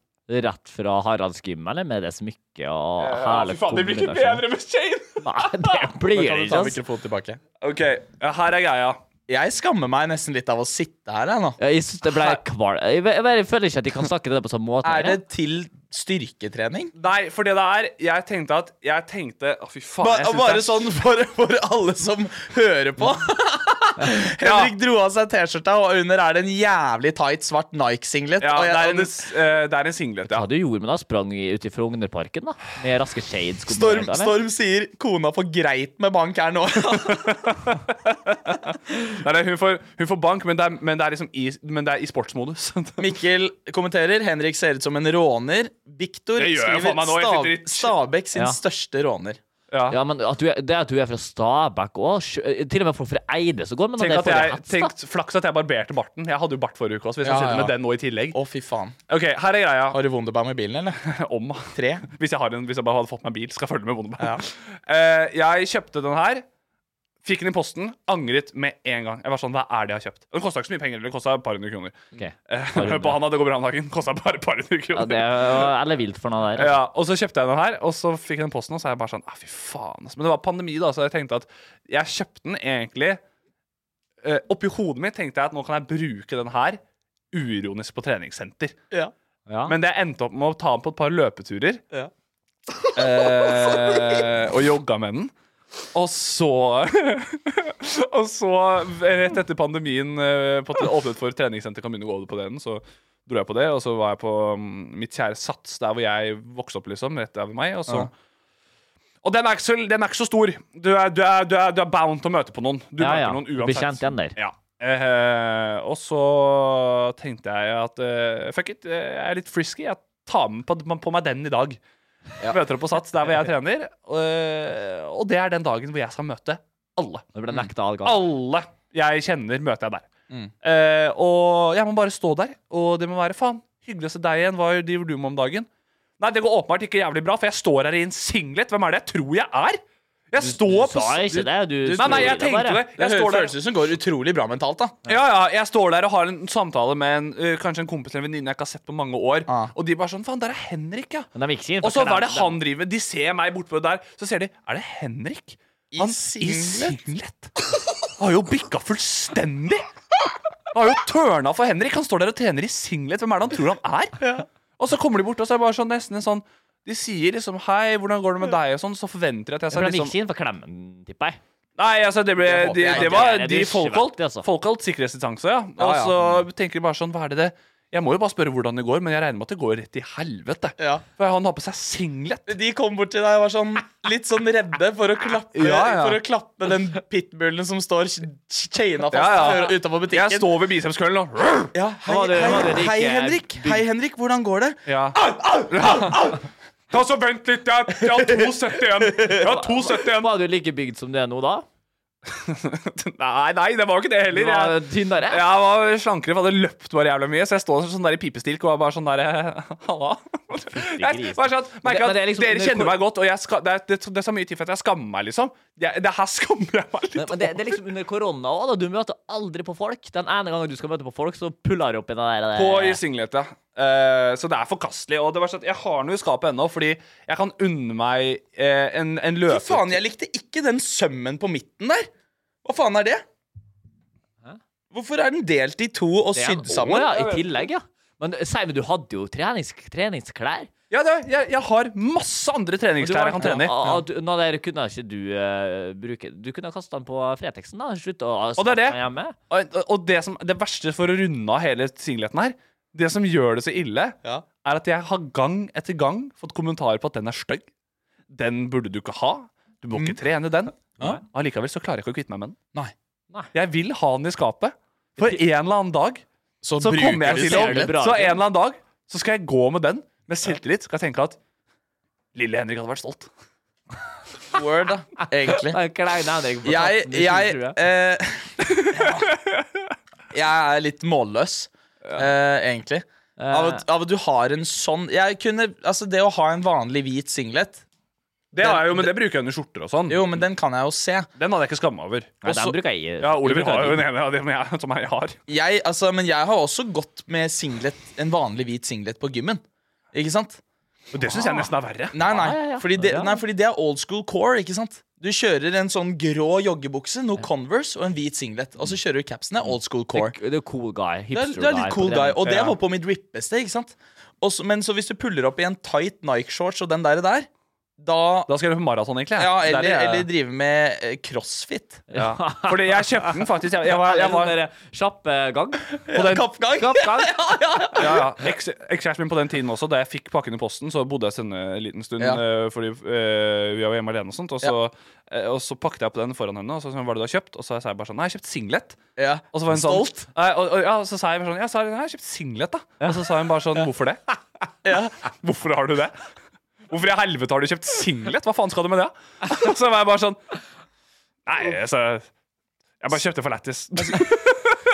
rett fra Haralds gym, eller? Med det smykket og
Eh,
hele
Fy faen, det blir ikke bedre med
sånn.
Shane!
Nei, det blir
Nå
det
kan du
ikke,
ta
ass.
mikrofonen tilbake.
OK, ja, her er greia.
Jeg skammer meg nesten litt av å sitte her, jeg nå.
Ja, Jeg synes det ble kval... Jeg, jeg, jeg føler ikke at de kan snakke det på sånn måte.
Er det til styrketrening?
Nei, for det det er Jeg tenkte at Jeg tenkte Å, fy faen.
Ba
jeg synes
bare
det er-
sånn for, for alle som hører på. Henrik dro av seg T-skjorta, og under er det en jævlig tight svart Nike-singlet.
ja,
og
det,
jeg-
er
og
en, s- eh, det er en singlet, ja.
Hva du gjorde med da? Sprang i- ut i Frognerparken, da? Med raske shades?
Storm,
kombinert, eller?
Storm sier 'kona får greit med bank her nå'.
Nei, nei, hun, får, hun får bank, men det er, men det er liksom i, men det er i sportsmodus.
Mikkel kommenterer Henrik ser ut som en råner. Victor
Det gjør jeg
skriver
faen meg nå, jeg
Stav
sitter i-
Stabæk sin
Ja.
største råner.
Ja, men at du er, Det at du er fra Stabæk òg Til og med folk fra Eide som går med
Tenk
det
at
for
jeg,
hets, da.
tenk, flaks at jeg barberte barten. Jeg hadde jo bart forrige uke også. Hvis
Ja,
jeg sitter
ja.
med den nå i tillegg
Å, fy faen.
Ok, her er greia.
Har du Wunderbaum i bilen, eller?
Om
Tre?
Hvis jeg, har en, hvis jeg bare hadde fått meg bil, skal jeg følge med Bondebær. Eh, jeg kjøpte den her. Fikk den i posten, angret med en gang. Jeg var sånn, hva er det jeg har kjøpt? Og Det kosta ikke så mye penger, det kosta et par hundre kroner.
Ok.
Eh, Hør på han, da, det går bra om dagen. Kosta bare et par hundre
Ja,
kroner.
det er eller vilt for noe der. altså.
Ja, og så kjøpte jeg den her, og så fikk jeg den posten, og så er jeg bare sånn ah, Fy faen. ass. Men det var pandemi, da, så jeg tenkte at jeg kjøpte den egentlig eh, Oppi hodet mitt tenkte jeg at nå kan jeg bruke den her uironisk på treningssenter.
Ja.
Ja.
Men det endte opp med å ta den på et par løpeturer.
Ja.
eh, og jogga med den. Og så Og så, rett etter pandemien eh, på at det åpnet for treningssenter kan begynne å gå over på den, så dro jeg på det, og så var jeg på mm, mitt kjære Sats, der hvor jeg vokste opp, liksom, rett der ved meg, og så
Ja.
Og den er, ikke så, den er ikke så stor. Du er, du, er, du, er, du er bound til å møte på noen. Du
Ja,
møter
ja.
noen
Du blir
uansett.
kjent igjen der.
Ja. Eh, og så tenkte jeg at eh, fuck it, eh, jeg er litt frisky. Jeg tar med på, på meg den i dag. Møter opp på Sats der hvor jeg trener. eh, og det er den dagen hvor jeg skal møte alle.
Det ble nekta adgang.
Alle jeg kjenner, møter jeg der.
Mm.
Eh, og jeg må bare stå der, og det må være faen. Hyggelig å se deg igjen. Hva driver du med om dagen? Nei, det går åpenbart ikke jævlig bra, for jeg står her i en singlet. Hvem er det jeg tror jeg er? Jeg står
Du
på
sa ikke det. Du
Nei, nei, jeg
det bare.
tenkte det.
Det
Jeg står der.
føles ut som går utrolig bra mentalt, da.
Ja, ja, jeg står der og har en samtale med en, ø, kanskje en kompis eller en venninne jeg ikke har sett på mange år.
Ah.
Og de bare sånn Faen, der er Henrik, ja.
Men de gikk ikke inn,
Og så
for
hva er
de-
det han driver med? De ser meg bortpå der, så ser de Er det Henrik?
I
Han
singlet?
I singlet. Har jo bikka fullstendig! Har jo tørna for Henrik. Han står der og trener i singlet. Hvem er det han tror han er? Og så kommer de bort, og så er det bare sånn nesten en sånn De sier liksom 'Hei, hvordan går det med deg?' og sånn. Så forventer jeg at jeg
For
skal
de gikk
liksom
ikke inn for klemmen, tipper jeg.
Nei, altså, det ble
Det
Det,
håper
de,
jeg
det
ikke.
var
Det er
de
dusjeverktøy,
folkeholdt,
altså.
folkeholdt sikkerhetsdistanse, ja. Og
Ja, ja.
så tenker de bare sånn, hva er det det Jeg må jo bare spørre hvordan det går, men jeg regner med at det går rett i helvete.
Ja.
For han har på seg singlet.
De kom bort til deg og var sånn litt sånn redde for å klappe,
Ja, ja.
For å klappe den pitbullen som står ch- ch- chaina fast
Ja, ja.
utenfor butikken.
Jeg står ved bicepskøllen og
Ja, hei,
Hva var det-
hei,
hva var det de
hei,
ikke-
Henrik. Hei, Henrik. Hvordan går det?
ja. Ta så vent litt, jeg, jeg har 2,71. Jeg har 2,71.
Var du like bygd som du er nå, da?
Nei, nei, det var jo ikke det
Du
heller.
var
Jeg,
tynnere?
jeg var slankere, for jeg hadde løpt bare jævla mye. Så jeg står sånn der i pipestilk og var bare sånn der eh, Halla. Jeg,
grisen.
bare sånn, merker
Men det- men
at
det er liksom
dere
under-
kjenner meg godt, og jeg skal, det, er, det, det er så mye tid for at jeg skammer meg, liksom. Det, det her skammer jeg meg
Men,
litt.
men det, det er liksom under korona òg, da. Du møter aldri på folk. Den ene gangen du skal møte på folk, så puller du opp i den der
På
Eh.
i singlet, ja. Eh, så det er forkastelig. Og det var sånn, at jeg har noe i skapet ennå, fordi jeg kan unne meg eh, en, en
Fy
løper.
faen, jeg likte ikke den sømmen på midten der. Hva faen er det? Hvorfor er den delt i to og
Det er en-
sydd sammen?
Å, ja, I tillegg, ja. Men si meg, du hadde jo trenings, treningsklær.
Ja, det, jeg, jeg har masse andre treningsklær jeg kan trene i.
Ah, ah, du, nå der kunne ikke du eh, bruke Du kunne ha kasta den på Fretexen, da. Slutt å
Og det er det.
Hjemme.
Og, og det, som, det verste for å runde av hele singleten her, det som gjør det så ille,
Ja.
er at jeg har gang etter gang fått kommentarer på at den er stygg. Den burde du ikke ha. Du må ikke trene den.
Mm. Ja.
Allikevel så klarer jeg ikke å kvitte meg med den.
Nei.
Nei.
Jeg vil ha den i skapet. For en eller annen dag
Så,
så
bruker
kommer
du
jeg til å
ser det
singlet.
bra
Så
ut.
en eller annen dag så skal jeg gå med den med selvtillit. Skal jeg tenke at lille Henrik hadde vært stolt.
Word, da. Egentlig.
Den kleine Henrik på
Jeg,
tatten i
jeg,
2020.
eh, jeg er litt målløs, eh, egentlig. Av at, av at du har en sånn jeg kunne, altså Det å ha en vanlig hvit singlet
Det har jeg jo, men det bruker jeg under skjorter og sånn.
Jo, men den kan jeg jo se.
Den hadde jeg ikke skamma over.
Nei, den bruker jeg.
Ja, Oliver
den bruker
har jo
jeg.
den ene av dem jeg, som jeg har.
Jeg, altså, men jeg har også gått med singlet, en vanlig hvit singlet på gymmen. Ikke sant?
Og det syns jeg nesten er verre.
Nei, nei.
Ja, ja, ja.
Fordi, det,
Ja.
nei fordi det er old school core, ikke sant? Du kjører en sånn grå joggebukse, noe Converse og en hvit singlet. Og så kjører du capsene. Old school core.
Det er cool guy.
Du er,
Hipster
du er litt cool
på
guy,
trening.
og det
Ja.
var på mitt rippeste, ikke sant? Og så- men så hvis du puller opp i en tight Nike-shorts og den der, der da
Da skal jeg løpe maraton, egentlig. jeg.
Ja,
Det er
eller,
det jeg-
eller drive med eh, crossfit.
ja. Fordi jeg kjøpte den faktisk. Jeg, jeg var, jeg var
Eller sånn der Kjapp eh, gang.
På den kappgang.
Kappgang.
ja, ja. Eks- Ekskjæresten min på den tiden også, da jeg fikk pakken i posten, så bodde jeg hos henne en liten stund
Ja.
eh, fordi eh, vi var hjemme alene og sånt. Og så, eh, og så pakket jeg opp den foran henne, og så sa hun hva er det du har kjøpt? Og så sa jeg bare sånn Nei, jeg har kjøpt singlet.
Ja.
Og så var hun
Stolt.
sånn Nei, og, og, ja, og så sa jeg bare sånn Ja, så har jeg- jeg har kjøpt singlet, da. Og så sa hun bare sånn Hvorfor det? Hvorfor har du det? Hvorfor i helvete har du kjøpt singlet? Hva faen skal du med det? Og så var jeg bare sånn Nei, altså Jeg bare kjøpte for lættis.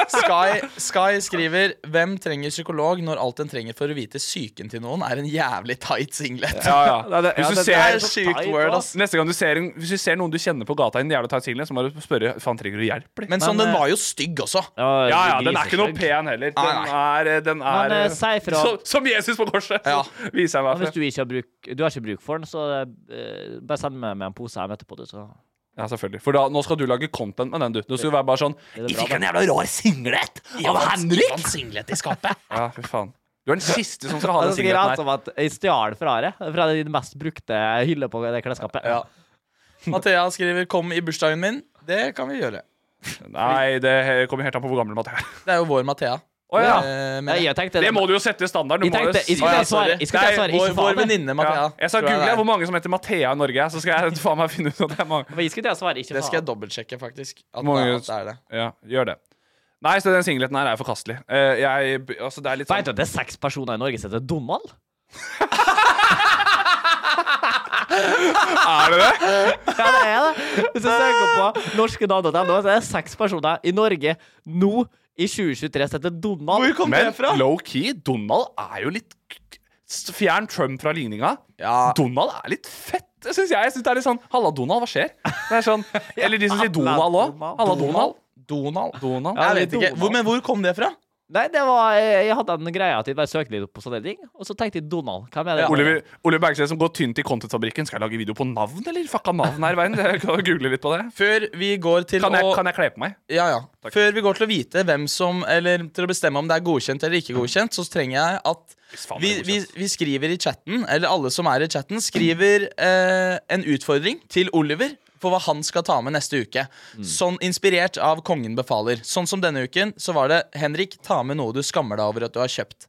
Sky, Sky skriver Hvem trenger psykolog når alt en trenger for å vite psyken til noen, er en jævlig tight singlet.
Ja, ja.
ja,
Hvis du
det- det
er
ser
sykt
tight,
word,
ass.
ass.
Neste gang du ser, en, hvis du ser noen du kjenner på gata i en jævla tight singlet, så må du spørre faen trenger du hjelp. eller?
Men sånn, den
eh,
var jo stygg også.
Ja, ja, den er ikke noe pen heller. Den
Nei,
er, den
Men,
er
eh, si fra-
som, som Jesus på korset!
Ja.
Viser jeg meg.
Hvis du ikke har bruk, du har ikke bruk for den, så eh, bare send meg med en pose hjem etterpå, du, så
Ja, selvfølgelig. For da, nå skal du lage content med den, du. Nå skal du være bare sånn
det
Vi
bra,
fikk en jævla rar singlet av Henrik!
singlet i skapet.
Ja, fy faen. Du er den siste som skal ha
Og
den
så skriver han
singleten her.
som at jeg stjal fra det Fra de mest brukte hylle på det klesskapet.
Ja. Mathea skriver 'Kom i bursdagen min'. Det kan vi gjøre.
Nei, det kommer helt an på hvor gammel man er.
Det er jo vår Mathea.
Å ja.
Eh,
Nei,
men-
jeg tenkte
Det må du jo sette i standard. Du
Jeg
må jo
tenkte, jeg
si
skulle
Å, ja,
til å svare,
sorry.
jeg skulle til å
Nei,
svare
vår
ikke
vår
faen.
venninne Mathea.
Ja. Jeg sa
tror det
google
er.
hvor mange som heter Mathea i Norge, så skal jeg faen meg finne ut at det er mange.
Men Jeg skulle til å svare ikke
Det skal jeg
faen.
dobbeltsjekke, faktisk. At det,
Mange-
er, at det er det.
Ja, gjør det. Nei, så den singleten her er forkastelig. Eh, Jeg, altså, det er litt
Vet du
sånn
at det er seks personer i Norge som heter Donald?
Er det det?
Ja, det er det. Hvis du søker på norskenavn.no, så er det seks personer i Norge nå i 2023 som heter Donald.
kom Men low-key, Donald er jo litt Fjern Trump fra ligninga.
Ja.
Donald er litt fett, syns jeg. Jeg synes det er litt sånn Halla, Donald, hva skjer? Det er sånn, Eller de som sier Donald òg. Halla, Donald.
Donald.
Donald.
Jeg
det er
vet ikke.
Donald.
Hvor, men hvor kom det fra?
Nei, det var eh, Jeg hadde den greia at jeg bare søkte litt opp på sånne ting, og så tenkte jeg Donald. Hva mener du?
Oliver, Oliver Bergstein som går tynt i Contentfabrikken. Skal jeg lage video på navn, eller? Fucka navn her i verden. Jeg kan google litt på det.
Før vi går til
Kan jeg,
å
kan jeg kle på meg?
Ja, ja. Før vi går til å vite hvem som Eller til å bestemme om det er godkjent eller ikke godkjent, så trenger jeg at
faen
vi,
det er
vi, vi skriver i chatten, eller alle som er i chatten, skriver eh, en utfordring til Oliver for hva han skal ta med neste uke.
Mm.
Sånn inspirert av Kongen befaler. Sånn som denne uken, så var det Henrik, ta med noe du skammer deg over at du har kjøpt.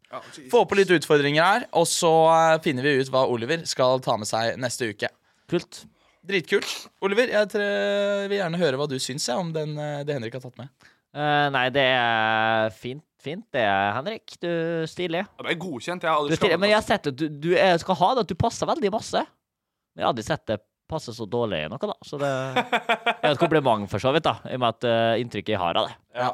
Få på litt utfordringer her, og så eh, finner vi ut hva Oliver skal ta med seg neste uke.
Kult.
Dritkult. Oliver, jeg tre, vil gjerne høre hva du syns jeg, om den, eh, det Henrik har tatt med.
Eh, nei, det er fint, fint det, er Henrik. Du er stilig.
Det er godkjent. Jeg har
Du er stilig. Men jeg har sett at du, du er, skal ha det, at du passer veldig masse. Men jeg hadde sett det passe så dårlig i noe, da. Så det er et kompliment, for så vidt, da. I og med at eh, inntrykket jeg har av det.
Ja.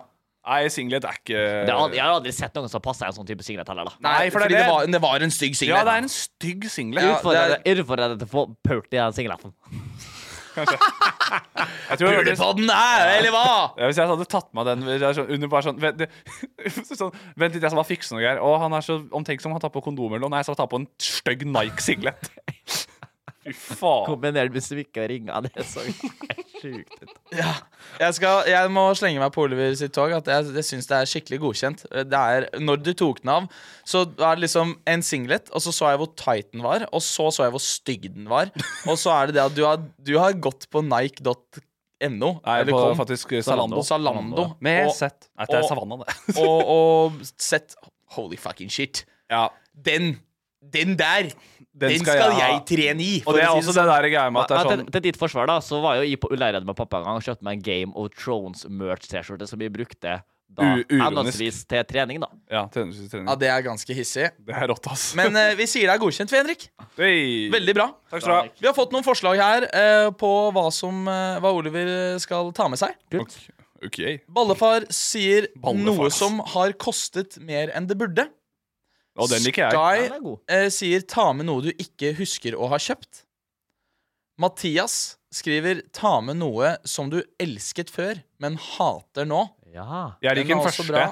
Nei, singlet er ikke
det er aldri, jeg har aldri sett noen som passer en sånn type singlet heller, da.
Nei, for det,
fordi det
var, det var en stygg singel.
Ja, det er en stygg singlet.
Ja.
Utfordrer
det
deg- utfordrer deg til å få pult i den singleten.
Jeg tror jeg, hvis,
Pulepodden her, eller hva?
hvis jeg hadde tatt meg den hvis jeg sånn- under bare sånn Vent, det, sånn, vent litt, jeg skal bare fikse noe her. Å, han er så omtenksom. Han tar på kondomer nå. Nei, jeg skal ta på en stygg Nike-singlet. Fy faen.
Kombinert med smikke og ringer. Det er så det er sjukt. ut.
Jeg, skal, jeg må slenge meg på Oliver sitt tog. At jeg, jeg syns det er skikkelig godkjent. Det er, når du tok den av, så var det liksom en singlet, og så så jeg hvor tight den var, og så så jeg hvor stygg den var. Og så er det det at du har, du har gått på nike.no.
Nei,
eller
på
kom,
faktisk eh, Salando.
Zalando.
Med
og,
sett. Nei, det er
og-
Savanna, det.
og, og sett Holy fucking shit.
Ja.
Den! Den der! Den,
skal
skal,
jeg
jeg,
ha.
trene i!
Og det er
for å si
også det der greia med at det
Nei,
er
til,
sånn
til ditt forsvar da Så var jo jeg på Ullæredd med pappa en gang og kjøpte meg en Game of Thrones-merch-T-skjorte som jeg brukte da
U- uironisk.
henholdsvis til trening, da.
Ja, trening.
Ja,
trening.
det er ganske hissig.
Det er rått, ass.
Men eh, vi sier det er godkjent, vi, Henrik.
Hey.
Veldig bra.
Takk skal du ha.
Vi har fått noen forslag her eh, på hva, som, eh, hva Oliver skal ta med seg.
Kult.
OK.
Ballefar sier
Ballefar.
noe som har kostet mer enn det burde.
Og den liker jeg.
Ja,
Sky
den er god.
eh, sier ta med noe du ikke husker å ha kjøpt. Mathias skriver ta med noe som du elsket før, men hater nå.
Ja.
Jeg liker den
er også
første.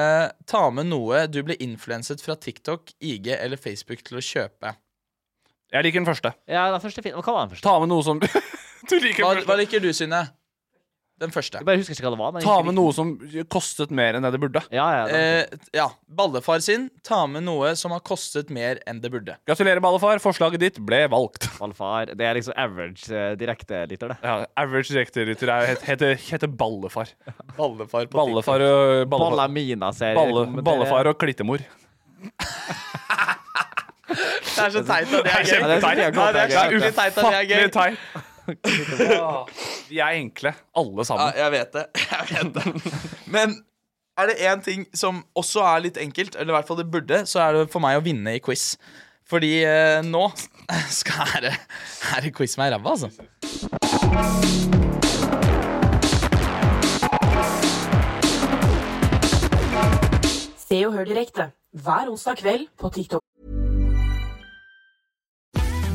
Eh, ta med noe du ble influenset fra TikTok, IG eller Facebook til å kjøpe.
Jeg liker den første.
ja, den første er fin. Hva var den første?
Ta med noe som Du liker
Hva, hva
den første.
liker du, Synne? Den første.
Jeg bare husker ikke hva det var. Men jeg
Ta
husker ikke-
med noe som kostet mer enn det det burde.
Ja, ja, den-
Eh, ja. Ballefar sin, ta med noe som har kostet mer enn det burde.
Gratulerer, ballefar. Forslaget ditt ble valgt.
Valfar. Det er liksom average eh, direktelytter, det.
Ja, average direktelytter heter, heter ballefar.
Ballefar på
Ballefar og
Balla
ballefar,
mina ser
balle, ballefar og klittemor.
Det er så teit at det er
Det er
gøy.
kjempeteit.
Ja, det er skikkelig
ufattelig
teit at det er gøy.
teit. Vi er enkle, alle
Ja,
sammen.
jeg vet det. Jeg vet det. Men er det én ting som også er litt enkelt, eller i hvert fall det burde, så er det for meg å vinne i quiz. Fordi eh, nå skal er det, er det quiz med ræva, altså.
Se og hør direkte hver onsdag kveld på TikTok.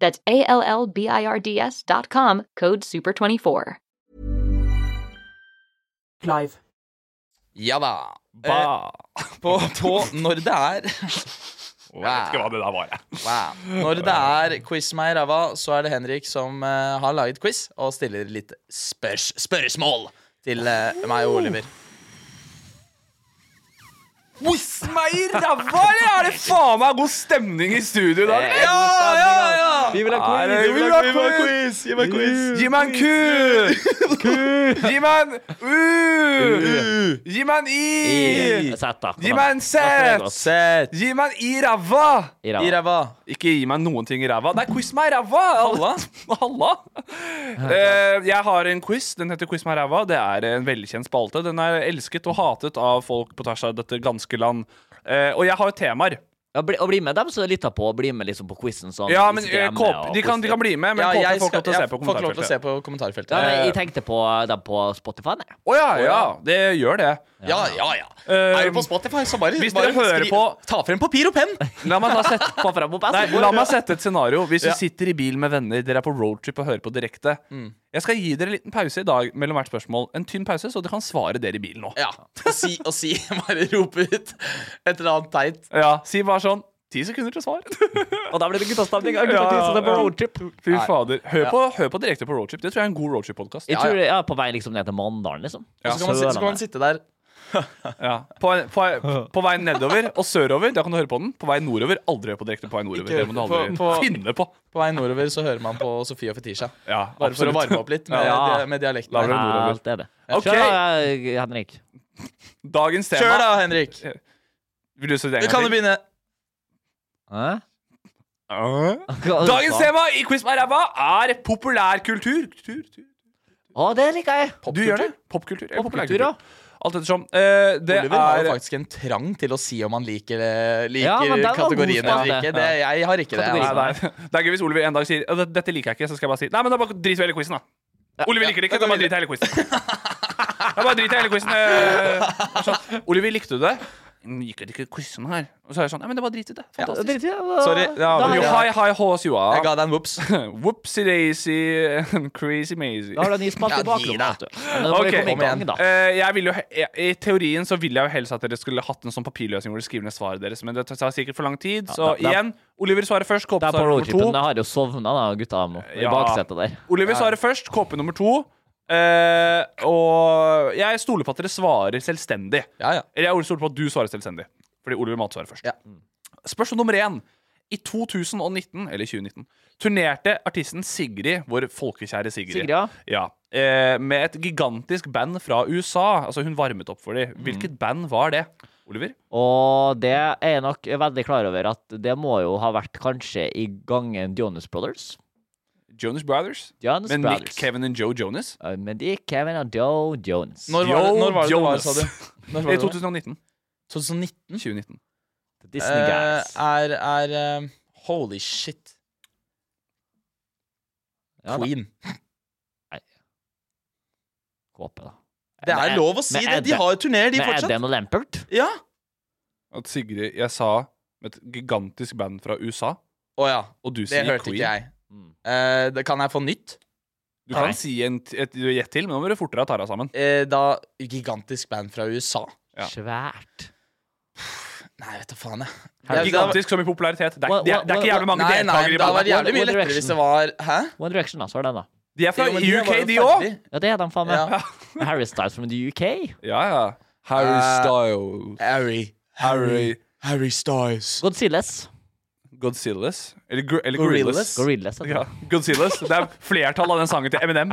That's A L L B I R D S dot com, code SUPER24.
Clive.
Ja da.
Ba.
Eh, på, på når det er
Jeg vet ikke hva det der var, jeg.
Wow. Når det er quiz meg i ræva, så er det Henrik som eh, har laget quiz og stiller litt spørs spørsmål til eh, meg og Oliver.
Quiz meg i ræva, eller? Er det faen meg god stemning i studio i dag?
Eh,
Ja, ja, ja!
altså.
Vi vil ha
Er det-
quiz!
Gi meg quiz! Gi meg quiz! Gi meg en ku! Gi meg en u! Gi meg en i!
Sett, da.
Gi meg en set!
Sett
Gi meg en i ræva!
i ræva.
Ikke gi meg noen ting i ræva. Nei, quiz meg i ræva! Halla! Halla. Eh, jeg har en quiz. Den heter Quiz meg i ræva. Det er en velkjent spalte. Den er elsket og hatet av folk på tvers av dette ganske land. Eh, og jeg har temaer.
Ja, bli, og bli med dem som lytter på, og bli med liksom på quizen. Sånn,
Ja, men
Instagram
eh, kåp,
og
de, kan, de kan bli med, men
Ja,
kåpe
jeg
får ikke
skal-
lov til å se
jeg
på
får ikke lov til å
kommentarfeltet.
se på kommentarfeltet.
Ja, men Eh, jeg tenkte på dem på Spotify. jeg.
Å ja, ja. Det gjør det.
Ja, ja, ja. Um,
Eh,
er du på Spotify, så bare,
hvis
bare
dere hører
skri-
på-
Ta frem papir og penn!
La meg, da sette,
Få frem opp,
nei,
jeg.
la meg sette et scenario. Hvis du
Altså, Ja. Mm.
sitter i bil med venner, dere er på roadtrip og hører på direkte. Jeg skal gi dere en liten pause i dag mellom hvert spørsmål. En tynn pause, så dere kan svare dere i bilen nå.
Ja, og si, og si Bare rope ut et eller annet teit.
Ja, Si bare sånn ti sekunder til svar.
Og da blir det guttastemning.
Ja,
gutta tisser på
ja.
roadtrip.
Fy fader. Hør, på, hør på direkte på roadtrip. Det tror jeg er en god roadtrip-podkast.
Jeg tror jeg er på vei liksom ned til Mandalen, liksom.
Og så kan, man, si- så kan man sitte der.
Ja. På, på, på vei nedover og sørover, da kan du høre på den. På vei nordover, aldri hør på direkte på vei nordover.
Ikke
Det må du
på-
aldri
på-
finne på.
På vei nordover så hører man på Sofie og Fetisha.
Ja,
Bare for å
absolutt.
varme opp litt med,
Ja.
med dialekten. Ah.
Lavere
her.
nordover.
Alt er det.
Ok.
Kjør da, eh, Henrik.
Dagens tema
Kjør da, Henrik.
Vil du si det
Du
en
kan jo
gang til?
begynne.
Hæ?
Ah.
Hva
Dagens
sa-
tema i Quiz med ræva er populærkultur. Kultur, kultur.
Å, det liker jeg.
Du gjør det. Popkultur. eller
Popkultur,
populærkultur. Alt ettersom. Eh, det
Oliver har
er
jo faktisk en trang til å si om han liker, eh, liker
Ja, men den var god
kategorien
spalte.
eller ikke. Det, jeg har ikke det.
Kategorien.
Nei,
altså.
nei. Det er gøy hvis Oliver en dag sier «Ja, det- Dette liker jeg ikke, så skal jeg bare si Nei, men da bare driter vi i hele quizen, da. Oliver liker det ikke, da bare driter jeg i hele quizen. Da bare driter jeg i hele quizen. eh. Sånn. Oliver, likte du det? «Mm, Liker du ikke quizen her? Og så er jeg sånn Nei, men det bare drit i det. Fantastisk.
Drit i det, da-
Sorry, ja,
da,
men
har
Jo,
jeg-
Hi, hi, horse you
Jeg
are.
ga deg en whoops.
Whoopsie daisy and crazy mazy.
da har du en ny spalte
Ja,
i bakrommet.
gi
vet du. Men da må
Ok,
vi komme i
kom
gang,
igjen.
da.
Eh, jeg vil jo, he- I i teorien så ville jeg jo helst at dere skulle hatt en sånn papirløsning hvor dere skriver ned svaret deres, men det tar sikkert for lang tid.
da-
Så
da-
igjen, Oliver svarer først, kåpe
Det er på
svarer nummer
roadtripen.
to.
Jeg har jo sovna, da, gutta. nå, I
Ja.
baksetet der.
Oliver svarer først, kåpe nummer to. Eh, og jeg stoler på at dere svarer selvstendig.
Ja, ja.
Eller jeg stoler på at du svarer selvstendig, fordi Oliver Mat svarer først.
Ja.
Spørsmål nummer én. I 2019, eller 2019, turnerte artisten Sigrid, vår folkekjære Sigrid,
Sigrid, ja.
Ja, eh, med et gigantisk band fra USA. Altså Hun varmet opp for
Mm.
dem. Hvilket band var det? Oliver?
Og det er jeg nok veldig klar over at det må jo ha vært kanskje i gangen Jonas Brothers.
Jonas Brothers?
Jonas
med
Brothers.
Nick, Kevin og Joe Jonas?
Eh, Men de Kevin og Joe Jones.
Når var det
Yo,
når var det, det var,
Jonas.
sa du? Når var
I
det det var?
2019.
2019?
2019.
The Disney guys.
Eh, er er eh, Holy shit.
Ja, da.
Queen.
Håper, da.
Det er
Med-
lov å si
med
det. De
Adam-
har jo turneer, de
Med
fortsatt.
Adam og Lampert.
Ja.
At Sigrid Jeg sa med et gigantisk band fra USA.
Å ja.
Og du
det
sier
hørte
Queen.
ikke jeg.
Mm.
Eh, det, kan jeg få nytt?
Du kan
Nei.
si en, t- et gjett til, men nå må du fortere ta deg sammen.
Eh, da Gigantisk band fra USA.
Ja.
Svært.
Nei, vet du faen, jeg.
Her-
Gigantisk som i popularitet. Det er,
Hva-
det er, det er
hva-
ikke jævlig
hva-
mange
Nei, nei, men
deltakere i
det hadde
bandet.
vært jævlig mye
One
lettere hvis det var Hæ?
One Direction, da. Så var den, da.
De er fra
Jo, men de
UK,
var jo
de òg!
ferdig.
Ja, det er de faen meg.
Ja.
Harry Styles from the UK.
Ja, ja.
Eh,
Styles.
Harry.
Harry
Harry Styles.
Godzillas.
Godzillas. Eller, gor eller
Gorillas.
Gorillas.
Gorillas. heter
Ja, Godzillas. Det er flertall av den sangen til Eminem.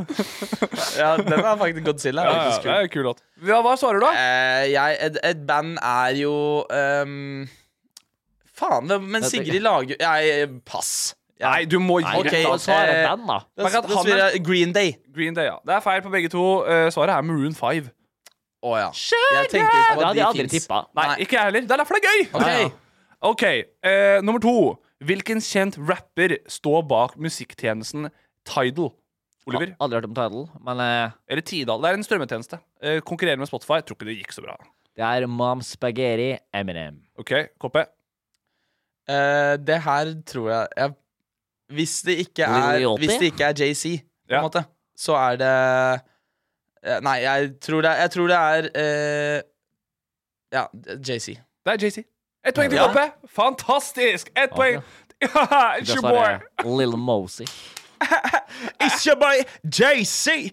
Ja, den er faktisk Godzilla.
Ja,
er
ja,
faktisk
det
kul.
er en kul låt. Ja, hva svarer du, da?
Eh, jeg, et, et band er jo ehm, Faen, hvem- men
Ja, det-
Sigrid lager Jeg Pass. Jeg,
Nei, du må
Nei,
gi
ok,
rett.
da
da.
svarer
eh,
den, da.
da,
Men at
da
han
spiller
er-
jeg Green Day.
Green Day, ja. Det er feil på begge to. Eh, svaret er Maroon 5.
Å ja. Jeg tenkte ikke
Det
på at
hadde jeg aldri
de fins.
tippa.
Nei, ikke jeg heller. Det er derfor det er gøy!
Ok.
Ja, ja.
Ok, eh, Nummer to. Hvilken kjent rapper står bak musikktjenesten Tidal? Oliver?
Aldri hørt om Tidal, men eh,
Eller Tidal? Det er en strømmetjeneste. Eh, konkurrerer med Spotify. Jeg tror ikke det gikk så bra.
det er Mom Spaghetti Eminem.
Ok, Koppe.
Eh, det her tror jeg, jeg Hvis det ikke
Lil
er,
Yachty?
hvis det ikke er JC, på
Ja.
en måte, så er det eh, Nei, jeg tror det, jeg tror det er eh, Ja, JC.
Det er JC. Ett poeng til
Ja.
Koppe. Fantastisk! Ett poeng. Ja, it's
Det
your
svarer
boy.
jeg Lil Mosey.
It's your boy JC!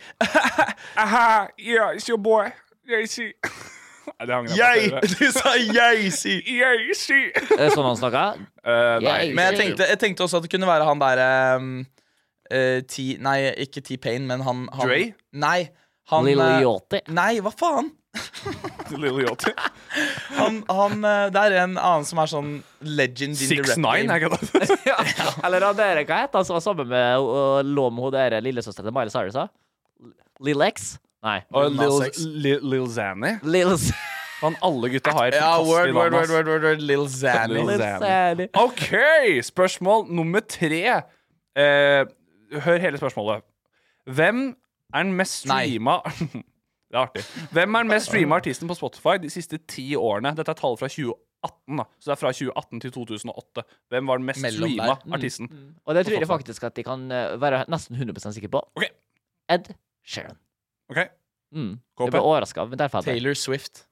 Aha, yeah, it's your boy. JC. Nei, det hang jeg på.
Du sa JC!
JC.
Er det sånn han snakker?
Eh, nei.
Yeah.
Men jeg tenkte, jeg tenkte også at det kunne være han derre T... Nei, ikke T-Pain, men han, han
Dre?
Nei. Han,
Lil
eh,
Yachty.
Nei, hva faen?
Lil Yachty.
Han, han, eh, det er en annen som er sånn legend in the
6
rap
9 er
game.
ikke det?
Eller han der, hva het han som var sammen med og lå med hun der lillesøsteren til Miley Cyrus? da? Lil X? Nei.
Og
Nas
Lil,
X.
Lil, Lil Zanny.
Lil Z-
Han alle gutta har
Ja,
fantastisk
word,
navn,
word,
ass.
word, word, word, word Lil Zanny.
Lil
Lil
Xan.
Xan.
OK, spørsmål nummer tre. Eh, hør hele spørsmålet. Hvem er den mest
Nei.
streama Det er artig. Hvem er den mest streama artisten på Spotify de siste ti årene? Dette er tallet fra 2018, da. Så det er fra 2018 til 2008. Hvem var den mest
Mellom
streama
der. Mm.
artisten?
Og det tror jeg faktisk at de kan eh, være nesten 100 sikker på.
Ok.
Ed Sheeran.
OK.
Mm.
Kåpe.
Jeg ble overraska, men derfor hadde jeg
Taylor Swift.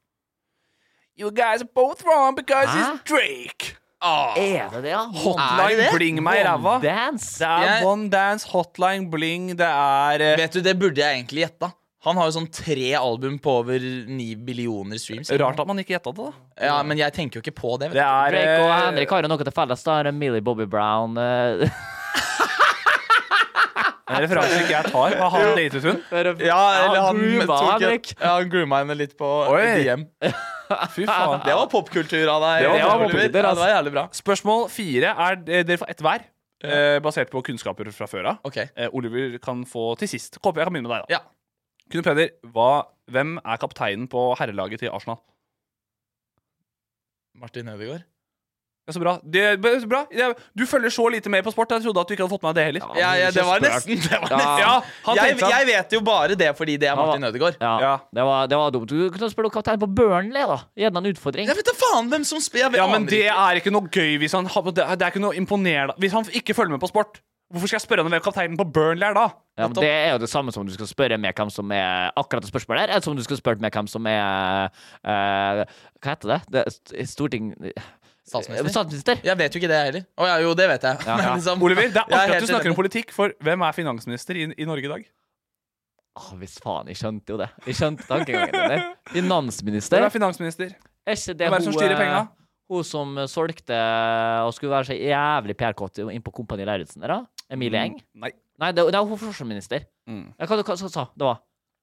You guys are both wrong because
Hæ?
it's Drake.
Er det det, ja?
Hotline Bling meg i ræva. Det
Dance.
er
Jeg-
One Dance, Hotline Bling, det er eh,
Vet du, det burde jeg egentlig gjetta. Han har jo sånn tre album på over ni billioner streams.
Rart at man ikke gjetta det, da.
Ja, men jeg tenker jo ikke på det. Vet
Det
du.
er
Drake og
eh,
Henrik har jo noe til felles. Da er det Millie Bobby Brown. eh,
En referanse ikke jeg tar. Har han datet hun?
Ja, eller han
grooma,
tok
Henrik.
et, ja, han grooma henne litt på
Oi.
DM.
Fy faen.
Det var popkultur av deg.
Det altså- var
Oliver.
popkultur,
ja,
ass.
det var jævlig bra.
Spørsmål fire er eh, dere får ett hver, eh, basert på kunnskaper fra før av.
Ok.
Eh, Oliver kan få til sist. Håper jeg kan begynne med deg, da.
Ja.
Knut Peder, hva, hvem er kapteinen på herrelaget til Arsenal?
Martin Ødegaard.
Det er så bra. Det er b- så bra. Det er- Du følger så lite med på sport. Jeg trodde at du ikke hadde fått med deg det heller.
Ja, ja, det var nesten. Det var nesten.
Ja, han
jeg,
tenkte sånn, seg-
jeg vet jo bare det fordi det er
var-
Martin Ødegaard.
ja,
Ja.
Det, var, det var dumt. Du kunne spørre kapteinen på Burnley, da. Gjerne en utfordring.
Jeg vet da faen hvem som spiller. Jeg vet
Ja, men
aner
det
ikke.
er ikke noe gøy hvis han har- Det er det er ikke noe imponerende Hvis han ikke følger med på sport, hvorfor skal jeg spørre han om hvem kapteinen på Burnley er da?
Ja, men det er jo det samme som du skal spørre med hvem som er akkurat det spørsmålet her, eller som du skal spørre med hvem som er eh, Hva heter det? det er storting... Eh,
Statsminister.
Statsminister.
Jeg vet jo ikke det, jeg heller. Å ja, jo, det vet jeg. Men liksom-
Oliver, det er
Jeg er
artig at
helt
du snakker om
enig.
politikk, for hvem er finansminister i, i Norge i dag?
Å, hvis faen, jeg skjønte jo det. Jeg skjønte tankegangen din der.
Hvem
Finansminister.
er finansminister?
Er ikke det
Hvem er det som styrer
eh,
penga?
Hun som eh, solgte eh, og skulle være så jævlig PR-kåt inn på Kompani Lauritzen der, da? Emilie Eng?
Nei.
Nei, det, det er hun forsvarsminister.
Mm.
Ja, hva, hva, hva sa det var?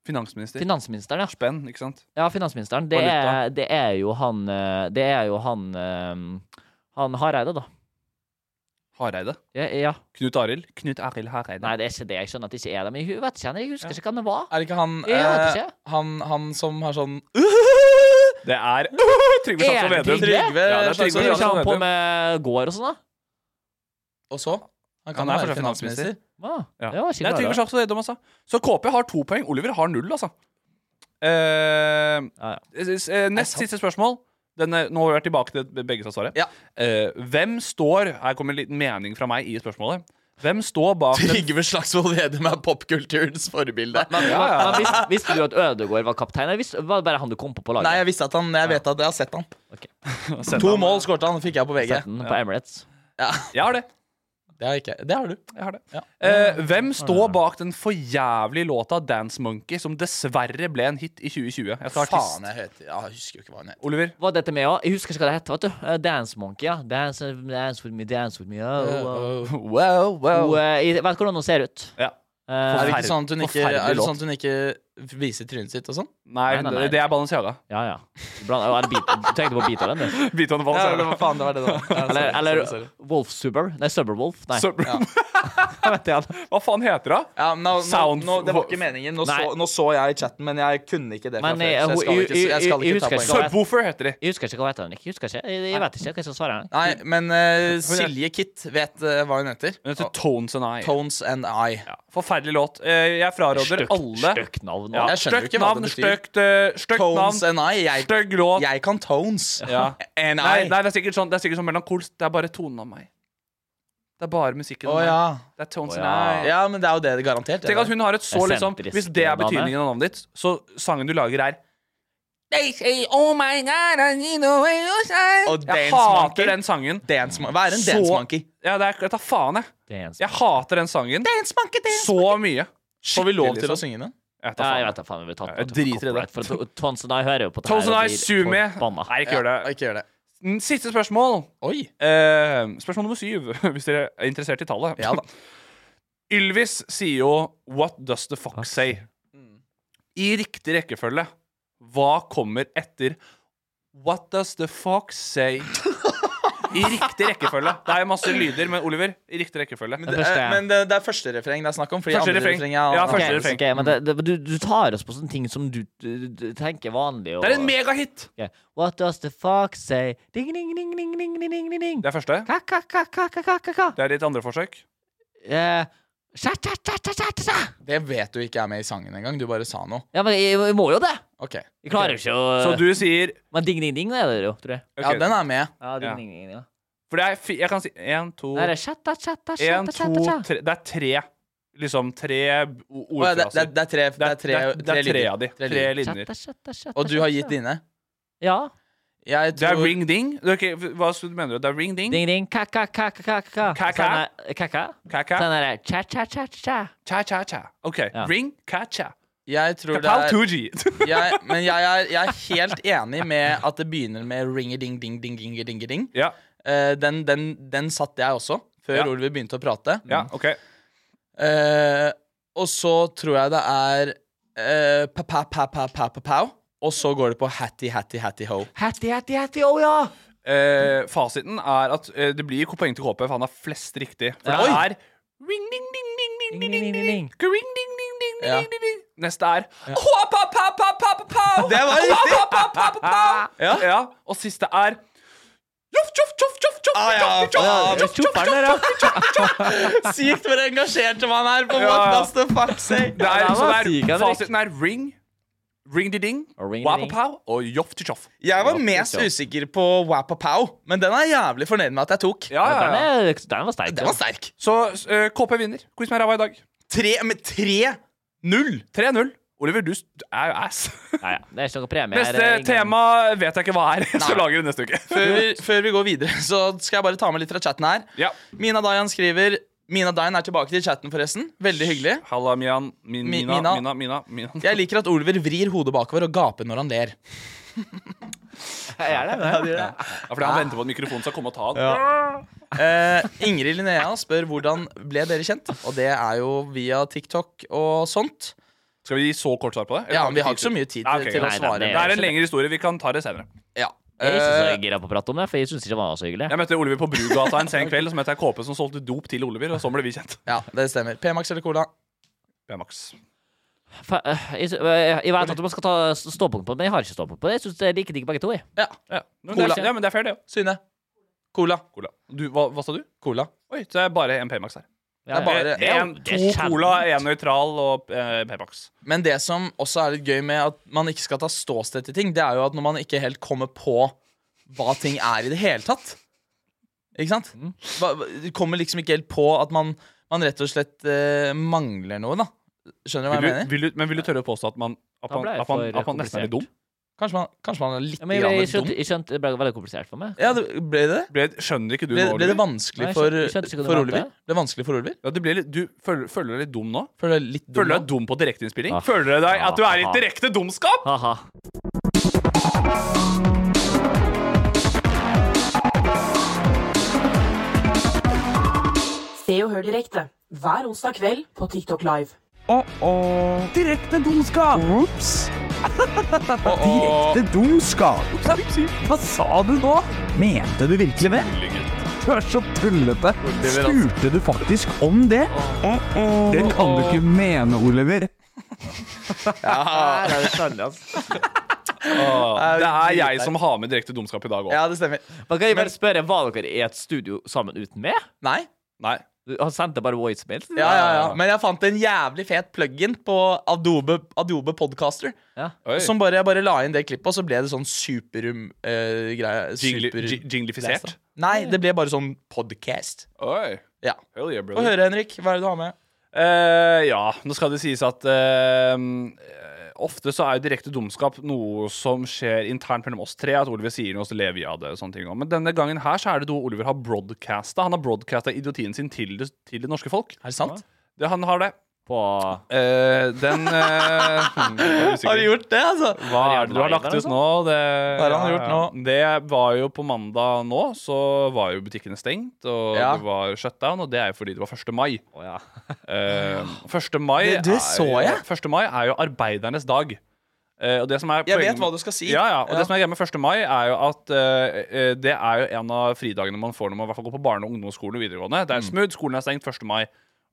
Finansminister.
Finansministeren, ja.
Spenn, ikke sant?
Ja, finansministeren. Det er,
Valuta.
det er jo han eh, Det er jo han eh, Han Hareide, da.
Hareide.
Ja, ja.
Knut Arild. Knut Arild Hareide.
Nei, det er ikke det. Jeg skjønner at det ikke er det. Men jeg vet ikke, jeg husker ikke hvem det var.
Er det ikke han,
Jeg vet
eh,
ikke.
han, han som har sånn
Det er Trygve Slagsvold
Er det
Vedum.
Trygve?
Trygve
Ja, det altså er
Slagsvold
Trygve
Driver ikke
Slagsvold
han på
Vedum.
med gård og sånn, da?
Og så? Han
Han
kan
er
være
fortsatt
finansminister.
Ah, Det var
Ja. Det
ikke
er Trygve
klar,
Slagsvold Vedum, altså. Så KP har to poeng. Oliver har null, altså. Eh,
Ja, ja.
s- s- eh, nest
sant.
siste spørsmål. Den er, nå er jeg tilbake til begge som svaret. Eh, hvem står Her kommer en liten mening fra meg i spørsmålet. Hvem står bak den
Trygve Slagsvold Vedum er popkulturens forbilde.
Men,
sånn- Ja, ja.
men visste, visste du at Ødegaard var kaptein, eller visste, var det bare han du kom på på laget?
Nei, jeg visste at han, jeg vet at jeg har sett han.
Ok.
To mål skårte han, fikk jeg på VG.
Sett den på Emirates.
Jeg har det.
Det har, ikke, det har du.
Jeg har det. Eh, hvem står bak den forjævlige låta 'Dance Monkey', som dessverre ble en hit i 2020? Jeg skal
Faen,
artist.
jeg, heter, ja, jeg husker jo ikke hva han heter.
Oliver.
Var dette med òg? Jeg husker ikke hva det het. vet du. Eh, Dance Monkey, ja. Dance, dance with me, dance with me. Oh, oh.
Wow, wow.
Og, eh, jeg vet hvordan hun ser ut.
Ja.
Eh,
Er det ikke sånn at hun ikke,
Forferdelig
er det
låt.
sånn at hun ikke viser trynet sitt og sånn?
Nei,
Nei, nei,
det-
nei.
det er Balenciaga.
ja, ja. Blant, er det beat, du tenkte på Beethoven, du?
Beethoven Balenciaga.
faen, det var det da.
Eller, eller Wolf Suber? Nei, Suberwolf. Nei.
Sub- Hva faen heter hun?
Ja, nå, nå,
Sound-
nå, det var ikke meningen. Nå
Nei.
så, nå så jeg i chatten, men jeg kunne ikke det fra
Men,
før.
eh,
Så jeg skal
hun-
ikke, jeg skal
hun- hun
ikke ta
husker
poeng.
ikke-
Subwoofer heter de.
Jeg husker ikke hva heter hun. Jeg husker ikke. Jeg, jeg vet ikke hva jeg skal svare.
Nei, men eh, Silje Kitt vet eh, hva hun heter.
Hun heter Tones and I.
Tones and I.
Ja. Forferdelig låt. Eh, Jeg fraråder alle
Støkt navn.
Ja,
også.
Jeg skjønner jo
støkt
ikke hva det
navn,
betyr.
Støkt, eh, støkt
Tones
navn,
and I. Jeg,
stygg låt.
jeg kan Tones.
Ja.
And
Nei,
I.
nei, det er sikkert sånn, det er sikkert sånn melankolsk. Det er bare tonen av meg. Det er bare musikken
Å
av
ja.
meg. Det er Tones
Å,
and I.
Ja, men det er jo det det garantert
Tenk at hun har et så
Det er
liksom
sentrisk,
Hvis det er
dame.
betydningen av navnet ditt, så sangen du lager, er
"Oh
Og
Jeg
Dance Monkey.
hater den sangen.
Dance Mon- Hva er en
Så-
Dance Monkey?
Ja, det er, jeg tar faen, jeg.
Det er en som-
Jeg hater den sangen
Dance Monkey, dance
så mye.
Får vi lov
Skikkelig,
til
liksom.
å synge den?
Jeg tar
Ja, jeg
faen.
vet da faen. om Vi tar
Jeg driter i det.
For to- Tons and I hører jo på det
Tones
her
and I,
og blir
Sumi.
forbanna.
Nei, ikke gjør
Ja,
det.
ikke gjør det.
Mm, Siste spørsmål.
Oi.
Eh, spørsmål nummer syv, hvis dere er interessert i tallet.
Ja da.
Ylvis sier jo 'What does the fuck say?' I riktig rekkefølge, hva kommer etter 'What does the fuck say?' I riktig rekkefølge. Det er masse lyder, men Oliver, i riktig rekkefølge.
Men, det,
første-
eh, men det, det er første refreng det er snakk om. Fordi
Første
andre
refreng.
refreng
Ja,
Ok,
første refreng.
ok, men det, det, du, du tar oss på sånne ting som du, du, du tenker vanlig. Og,
Det er en megahit!
Ok. What does the fuck say? Ding, ding, ding, ding, ding, ding, ding, ding, ding.
Det er første.
Ka, ka, ka, ka, ka, ka, ka, ka.
Det er ditt andre forsøk.
Eh, sja, sja, sja, sja, sja, sja, sja.
Det vet du ikke er med i sangen engang. Du bare sa noe.
Ja, men jeg, jeg må jo det.
Ok.
Jeg klarer jo ikke å
Så du sier
Men ding, ding, ding er det jo, tror jeg.
Ja,
Ok,
den er med.
Ja, ding,
Ja.
ding, ding, ding, ja.
For det er fi, Jeg kan si én, to
Nei, det er sja, sja, sja, sja, sja,
En,
sja, sja,
to,
sja.
tre Det er tre Liksom tre o-
Å, ja, det, det,
ordfraser
det er tre, det er tre,
det er tre
lyder.
av de
Tre
Tre
lyder.
linjer
Sja, sja, sja, sja,
Og du har
sja,
gitt
sja.
dine?
Ja.
Jeg
Det er
tror
ring ding Ok, hva mener du? Det er ring ding
Ding, ding, ka, ka, ka, ka, ka.
Ka, ka.
Sånn er- Ka, ka.
Ka-ka
Sånn er det. Cha, cha, cha, cha.
Cha cha cha Ok
Ja.
Ring Ka-cha
Jeg tror det
Kapow
er
2G
jeg, Men jeg er, jeg er helt enig med at det begynner med ring-a-ding-ding-ding-ding-ding-ding.
Ja
Eh, den, den, den satt jeg også, før
Ja.
Oliver begynte å prate.
Ja, ok
Eh, og så tror jeg det er eh, pa-pa-pa-pa-pa-pa-pow. Og så går det på hatty-hatty-hatty-ho.
Hatty, hatty, hatty, å ja!
Eh, Fasiten er at eh, Det blir poeng til KP For han har flest riktig For det
Oi.
er Ring ding ding ding ding
Ding, ding, ding, ding.
Ring ding ding ding
Ja.
ding ding ding Neste er Hua-pa-pa-pa-pa-pa-pow
Det var riktig!
Ja. ja. Og siste er Tjoff, tjoff, tjoff, tjoff, tjoff,
Ah, ja.
tjoff, tjoff,
Ah, ja.
tjoff, tjoff,
Tjofferen der, ja.
Sykt hvor engasjert man er på
Ja,
What
ja.
does the fuck say.
Det er,
Ja, det
så
var
det
sykt,
er,
Henrik.
fasiten er ring, ring-di-ding,
Og ring-di-ding.
wapapow og joff-ti-tjoff.
Jeg var mest usikker på wapapow, men den er jævlig fornøyd med at jeg tok.
Ja, ja,
Den,
ja.
er, den var sterk.
Den var sterk.
Så eh, KP vinner. Quiz med ræva i dag.
Tre, med tre
3-0. Oliver, du s- du er jo ass.
Ja, ja. Det er ikke noe premie. her,
Neste
det er ingen-
tema vet jeg ikke hva er, så lager vi det neste uke.
før vi, før vi går videre, så skal jeg bare ta med litt fra chatten her.
Ja.
Mina Dayan skriver Mina Dayan er tilbake til chatten, forresten. Veldig hyggelig.
Halla, Mian. Min,
Mi-
mina,
Mina.
mina, mina, mina.
Jeg liker at Oliver vrir hodet bakover og gaper når han ler.
Ja, jeg er det.
Ja, fordi han venter på at mikrofonen skal komme og ta han.
Eh, Ingrid Linnea spør hvordan ble dere kjent, og det er jo via TikTok og sånt.
Skal vi gi så kort svar på det? Eller
Ja,
vi
Vi har
tid
ikke så
til-
mye tid
Ja, ok,
til å
Nei, da,
svare.
det
Det er en lengre historie. Vi kan ta det senere.
Ja.
Jeg er ikke så
Eh,
gira på å prate om det, for jeg syns ikke det var så hyggelig.
Jeg møtte Oliver på Brugata en sen kveld, og så møtte jeg KP som solgte dop til Oliver, og sånn ble vi kjent.
ja, det stemmer. P-Max eller Cola?
Max.
Fa- øh, Jeg, sy- øh, jeg, jeg vet at man skal ta s- ståpunkt på det, men jeg har ikke ståpunkt på det. Jeg syns det er like digg begge to. Jeg.
Ja.
Ja. Men det
Cola.
er, ja, men det er fair, det òg.
Synne? Cola.
Cola. Du, hva, hva sa du?
Cola.
Oi, så det er bare en P-Max her.
Ja,
er bare-
ja.
det er
En,
det er
to
sjeldent.
Cola, en nøytral og eh, P-Max.
Men det som også er litt gøy med at man ikke skal ta ståsted til ting, det er jo at når man ikke helt kommer på hva ting er i det hele tatt. Ikke sant? Hva, hva- det kommer liksom ikke helt på at man, man rett og slett eh, mangler noe, da. Skjønner du hva
Vil
jeg
du,
mener?
vil du, men vil du tørre å påstå at man, at
Da
man,
ble jeg
at man,
for
at man nesten er litt dum?
Kanskje man, kanskje man er litt
Ja, men
grann
jeg, jeg,
dum?
skjønte, jeg skjønte, Det ble veldig komplisert for meg.
Ja, det, ble det det?
Ble, skjønner ikke du
Ble,
nå,
ble det
Oliver?
vanskelig
Nei, jeg
for,
skjønte- jeg skjønte ikke hva du
for
mente.
Oliver? Ble det vanskelig for Oliver?
Ja, du, blir litt, du føler, føler du deg litt dum nå?
Føler deg litt dum
Føler du
nå?
deg dum på direkteinnspilling?
Ah.
Føler du deg at du er i
Ah.
direkte dumskap?
Haha.
Se og hør direkte hver onsdag kveld på TikTok Live.
Direkte dumskap! Ops! Direkte dumskap! Hva sa du nå? Mente du virkelig det? Du er så tullete. Spurte du faktisk om det? Det kan du ikke mene, Oliver.
Her er det sannelig, altså. Ah.
Åh, Det er jeg som har med direkte dumskap i dag òg.
Ah. Ja, det stemmer.
Man kan jo bare spørre, Var dere i et studio sammen uten meg?
Nei?
Nei.
Du- Han sendte bare voicemail.
Ja, ja, ja. Men jeg fant en jævlig fet plugin på Adobe, Adobe Podcaster.
Ja.
Oi.
Som bare, jeg bare la inn det klippet, og så ble det sånn eh, superum-greie.
Jingli- jing- jinglifisert?
Nei, det ble bare sånn podcast.
Oi.
Ja.
Hell yeah,
Få
brother.
høre, Henrik. Hva er det du har med?
Eh, ja, nå skal det sies at eh, ofte så er jo direkte dumskap noe som skjer internt mellom oss tre. At Oliver sier noe, så lever vi av det. og sånne ting. også. Men denne gangen her så er det noe Oliver har broadcasta. Han har broadcasta idiotien sin til det, til det norske folk.
Er det sant?
Det, han har det.
På
Eh, den eh,
Har du gjort det, altså?
Hva er det du har lagt ut nå? Det,
Hva er det han har gjort nå?
Det var jo på mandag nå, så var jo butikkene stengt, og
Ja.
det var shutdown, og det er jo fordi det var 1. mai.
Å ja.
Eh, 1. mai
Det- det så
er,
jeg.
1. mai er jo arbeidernes dag. Eh, og det som er
Jeg
poenget-
vet hva du skal si.
Ja, ja, og
Ja.
det som er greia med 1. mai, er jo at eh, eh, det er jo en av fridagene man får når man i hvert fall går på barne- og ungdomsskolen og videregående.
Mm.
Det er smooth, skolen er stengt 1. mai.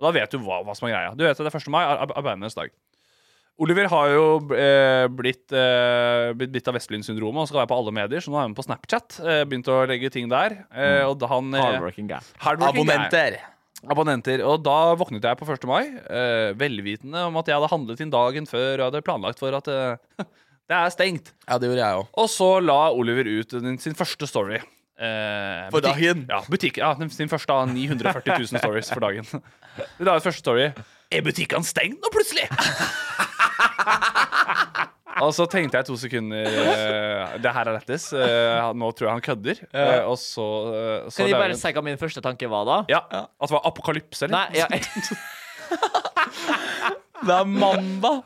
Og da vet du hva, hva som er greia. Du vet at det er 1. mai, ar- ar- arbeidernes dag. Oliver har jo eh, blitt, eh, blitt bitt av Vestlund-syndromet og skal være på alle medier, så nå er han på Snapchat. Eh, begynt å legge ting der. Eh, og da han eh,
Hardworking guy.
hardworking guy.
Abonnenter.
Abonnenter. Og da våknet jeg på 1. mai, eh, velvitende om at jeg hadde handlet inn dagen før og hadde planlagt for at eh, det er stengt.
Ja, det gjorde jeg òg.
Og så la Oliver ut den- sin første story. Eh,
For
butikk-
dagen.
Ja, butikk, ja, den- sin første av 940 000 stories for dagen. Du la ut første story. Er butikkene stengt nå, plutselig? og så tenkte jeg to sekunder eh, Det her er lættis. Eh, nå tror jeg han kødder. Eh, og så, eh, så
Kan jeg
la
bare
hun-
si hva min første tanke var, da?
ja, At det var apokalypse, eller?
Nei, ja, jeg,
Det er mandag.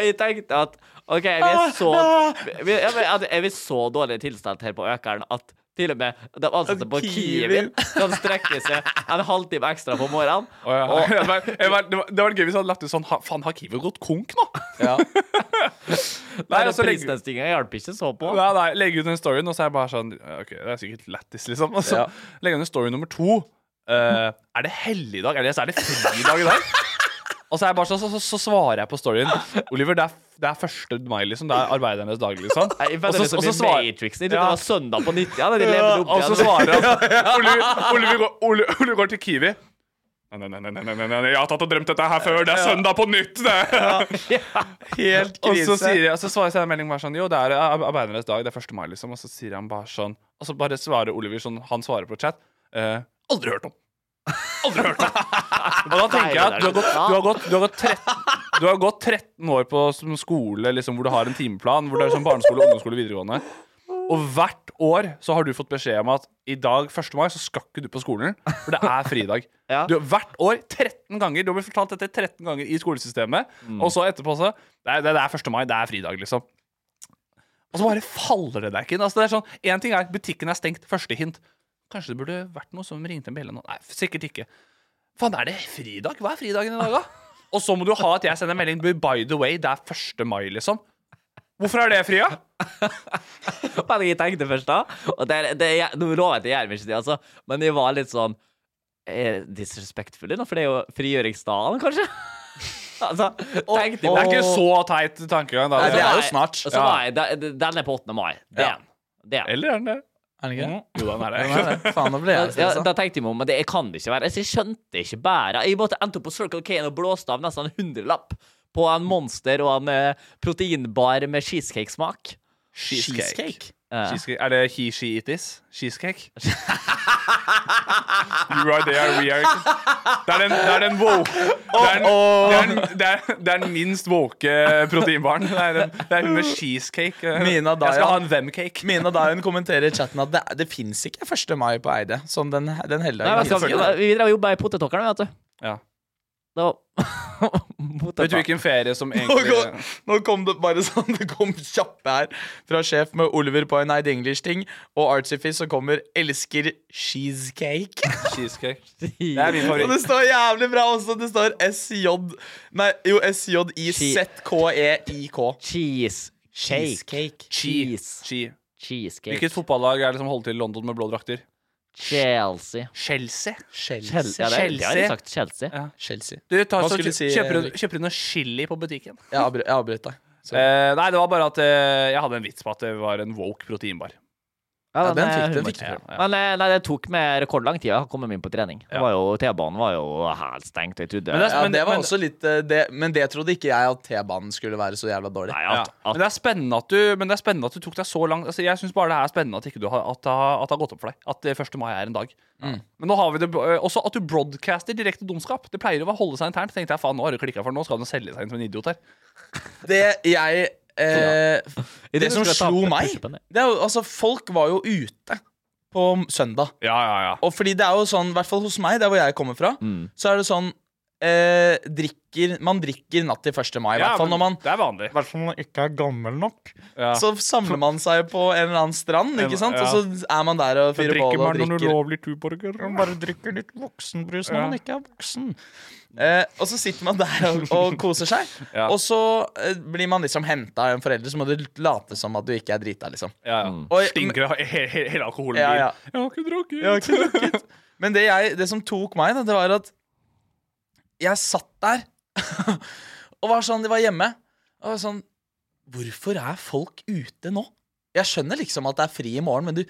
jeg tenkte at OK, vi er så
Ah,
vi, ja, men at- Er vi så dårlig tilstand her på Økeren at til og med de ansatte på
Kiwi.
Kiwi kan strekke seg en halvtime ekstra på morgenen?
Å, ja. det, var, det, var, det, var, det var gøy hvis han hadde lagt ut sånn «Ha- Faen, har Kiwi gått konk nå?
Ja.
Nei,
Den
og så legger,
prisnedstiginga hjalp ikke så på.
nei, nei, legger ut den storyen, og så er jeg bare sånn OK, det er sikkert lættis, liksom. Og så
Ja.
legger han ut story nummer to. Eh, er det helligdag? Eller så er det fridag i dag? Og så, er jeg bare sånn, så, så, så svarer jeg på storyen. Oliver, det er, det er 1. mai, liksom. Det er arbeidernes dag, liksom.
Nei, Jeg føler det
Og så-
som
og så
i
svar-
Matrix. Jeg trodde
Ja.
det var søndag på 90. Ja, da, de levde opp
og så
igjen.
svarer han Oliver, Oliver, går, Oliver, Oliver går til Kiwi. Nei, nei, nei, nei, nei, nei, nei, jeg har tatt og drømt dette her før. Det er søndag på nytt! Det.
Helt
Og
krise.
så, sier jeg, og så svarer jeg en melding bare sånn Jo, det er ar- arbeidernes dag, det er 1. mai, liksom. Og så sier han bare sånn Og så bare svarer Oliver sånn Han svarer på chat. Eh, aldri hørt om. Aldri hørt om. Og da tenker jeg at du har gått, du har gått, du har gått, 13, du har gått 13 år på som skole liksom, hvor du har en timeplan, hvor det er sånn barneskole, ungdomsskole, videregående. Og hvert år så har du fått beskjed om at i dag, 1. mai, så skal ikke du på skolen, for det er fridag.
Ja.
Du, hvert år 13 ganger. Du har blitt fortalt dette 13 ganger i skolesystemet. Og så etterpå så Nei, det, det er 1. mai, det er fridag, liksom. Og så bare faller det deg ikke inn. Altså, det er sånn, en ting er butikken er stengt, første hint. Kanskje det burde vært noe som ringte en bjelle nå? Nei, sikkert ikke. Faen, er det fridag? Hva er fridagen i dag, da? Og så må du ha at jeg sender en melding By the way, det er 1. mai, liksom. Hvorfor er det fria?
Men jeg tenkte først da og det, er- det, er- Nå lover jeg at jeg gjør meg ikke det, altså, men jeg var litt sånn Er det disrespektfull nå? For det er jo frigjøringsdagen, kanskje? altså, tenkte jeg
Det er ikke så teit tankegang, da.
Nei, det er jo
Nei,
snart.
Og så var jeg, de- de- den er på 8. mai. Det er
Ja.
den. Det er den.
Eller er den det?
Er det ikke?
Jo, den er det.
Hva er det? Faen, nå ble jeg
Ja,
stressa.
da tenkte jeg meg om, men det kan det ikke være. Altså, jeg skjønte ikke bæret. Jeg måtte endte opp på Circle K og blåste av nesten en hundrelapp på en Monster og en eh, proteinbar med cheesecakesmak.
Cheesecake.
Cheesecake?
Cheesecake. Er det he, she, it is? Cheesecake? you are there, we are Det er den, det er den woke det er den, det er den, det er, det er den minst woke proteinbaren. Det er, den, det er hun med cheesecake. eh.
Mina
Jeg skal ha
Dayan,
en Vem-cake.
Mina Dayan kommenterer i chatten at det, det fins ikke 1. mai på Eide. Som den, den
Nei,
helligdagen.
men skal, vi drev og jobba i potetåkeren, vet du.
Ja.
Det var
Vet du hvilken ferie som
Nå,
egentlig
kom, nå kom det bare sånn Det kom kjappe her fra sjef med Oliver på en Eid English-ting, og Artifice som kommer 'elsker cheesecake'.
Cheesecake. Det er min
Og det
favoritt.
står jævlig bra også. Det står SJ Nei, jo, E SJIZKEIK.
Cheese.
Cheesecake.
Cheese.
Cheesecake.
Hvilket fotballag er det som holder til i London med blå drakter?
Chelsea.
Chelsea.
Chel ja, det, det har de sagt. Chelsea.
Chelsea.
Du, ta,
Hva
så,
skulle du si,
kjøper, du,
Henrik?
kjøper du noe chili på butikken?
Jeg avbry- jeg avbrøt deg. Sorry.
Eh, nei, det var bare at eh, jeg hadde en vits på at det var en woke proteinbar.
Ja, den
er
fikk- den
humor.
fikk du.
Men eh, nei, det tok meg rekordlang tid å komme meg inn på trening. Det var jo, T-banen var jo helt stengt, og jeg trodde
ja, det var også litt eh, det, Men det trodde ikke jeg at T-banen skulle være så jævla dårlig.
Nei, at,
Men det er spennende at du, men det er spennende at du tok deg så langt altså, Jeg syns bare det er spennende at, ikke du har, at, det har- at det har gått opp for deg. At eh, 1. mai er en dag.
Mm.
Men nå har vi det eh, også at du broadcaster direkte dumskap. Det pleier å være- holde seg internt. Tenkte jeg, faen, nå har du klikka for det, nå skal den selge seg inn som en idiot her.
Det jeg eh,
Jeg
Det
tror
som
du skal ta
slo
opp
meg
pushupen, jeg.
det er jo, Altså, folk var jo ute på m- søndag.
Ja, ja, ja.
Og fordi det er jo sånn, i hvert fall hos meg, der hvor jeg kommer fra,
Mm.
så er det sånn eh, drikker, Man drikker natt til 1. mai, i
Ja,
hvert fall
men
når man
Det er vanlig.
hvert fall når man ikke er gammel nok.
Ja.
Så samler man seg på en eller annen strand, ikke sant? og så er man der og
Så
fyrer bål og drikker.
ulovlig tuborger.
bare drikker litt voksenbrus
når Ja. man
ikke er voksen. Eh, og så sitter man der og, og koser seg,
Ja.
og så eh, blir man liksom henta av en forelder, så må du late som at du ikke er drita, liksom.
Ja, ja.
Og jeg-
Stinker av he- he- hele alkoholen.
Ja,
din.
ja.
Jeg har ikke drukket.
Men det, jeg, det som tok meg, da, det var at jeg satt der og var sånn De var hjemme. Og var sånn Hvorfor er folk ute nå? Jeg skjønner liksom at det er fri i morgen, men, du,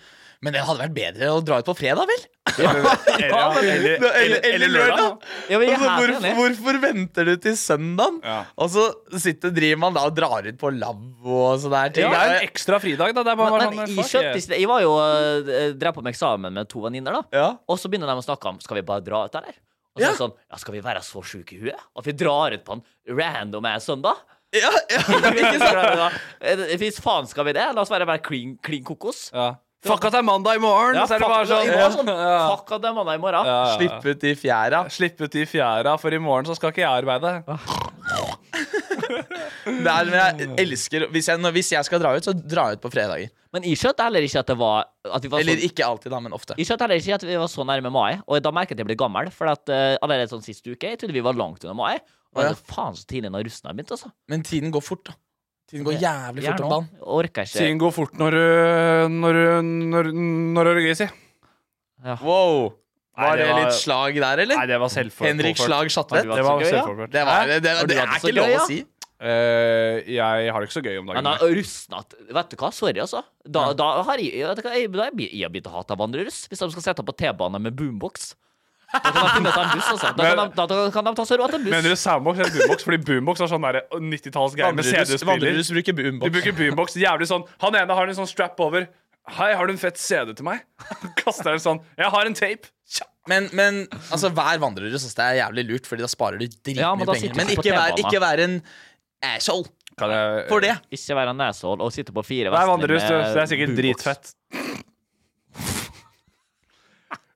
men det hadde vært bedre å dra ut på fredag, vel?
Eller, eller, eller, eller, eller lørdag.
Ja, men
Altså,
jeg er helt
hvorfor,
enig.
hvorfor venter du til søndagen?
Ja.
Og så sitter, driver man da og drar ut på lavvo og sånne her ting.
Det er jo en ekstra fridag, da. Det er bare
Men,
bare
men
sånn,
jeg
fuck
skjønte
it.
ikke det. Jeg var jo eh, drev på med eksamen med to venninner, da.
Ja.
Og så begynner de å snakke om Skal vi bare dra ut der, eller? Og
Ja.
så er det sånn Ja, skal vi være så sjuke i huet at vi drar ut på en random ass søndag?
Ja, ja, ikke sant?
Hvis faen skal vi det? La oss være bare klin, klin kokos.
Ja. Fuck at det er mandag i morgen!
Ja,
så er det bare
fuck- i morgen,
sånn.
sånn,
Ja.
Fuck at det er mandag i morgen.
Ja, ja.
Slipp ut i fjæra.
Slipp ut de fjæra, for i morgen så skal ikke jeg arbeide.
Det er, men jeg elsker hvis jeg, når, hvis jeg skal dra ut, så drar jeg ut på fredager.
Men jeg skjønte heller ikke at det var at vi var
Eller
så,
ikke alltid, da, men ofte.
Jeg skjønte heller ikke at vi var så nærme mai, og da merket jeg at jeg ble gammel. For at eh, allerede sånn sist uke Jeg trodde vi var langt unna mai.
Å,
Og det
ja.
er faen så tidlig når russen har begynt, altså.
Men tiden går fort, da. Tiden går jævlig fort om
Jernbanen.
dagen.
Orker ikke.
Tiden går fort når du Når du Når, når er det gøy, si?
Wow.
Nei,
Var
det
det
var-
litt slag der, eller?
Nei, det var selvforført.
Henrik Slag Schatvedt?
Det var
gøy, ja.
selvforført.
Det, var, det, det,
Har du
det
hatt
er
det så
ikke
gøy,
lov
ja?
å si.
Eh, jeg har det ikke så gøy om dagen.
Men han rusnet Vet du hva, sorry altså Da, da har jeg vet du hva, jeg, da er jeg, jeg har begynt å hate vandreruss Hvis de skal sette på T-banen med boombox Da kan de finne seg en buss altså. da, kan de, da, da kan de ta seg råd til en buss
Mener du soundbox eller boombox? Fordi boombox er sånn der 90-tallsgreie med
Vandrerus
CD-spiller.
vandrerus bruker
De
boombox.
bruker boombox jævlig sånn Han ene har en sånn strap over. Hei, har du en fett CD til meg? Kaster en sånn. Jeg har en tape.
Men, men altså, vær vandrerus. Altså, det er jævlig lurt, Fordi da sparer du dritmye
Ja, men da
penger.
sitter
Men
du på
ikke vær,
T-banen.
ikke vær en asshole
Kan jeg
for det.
Ikke være en neshold og sitte på fire
Nei,
vestlig
vandrerus, du.
med
Så det er sikkert
boombox.
dritfett.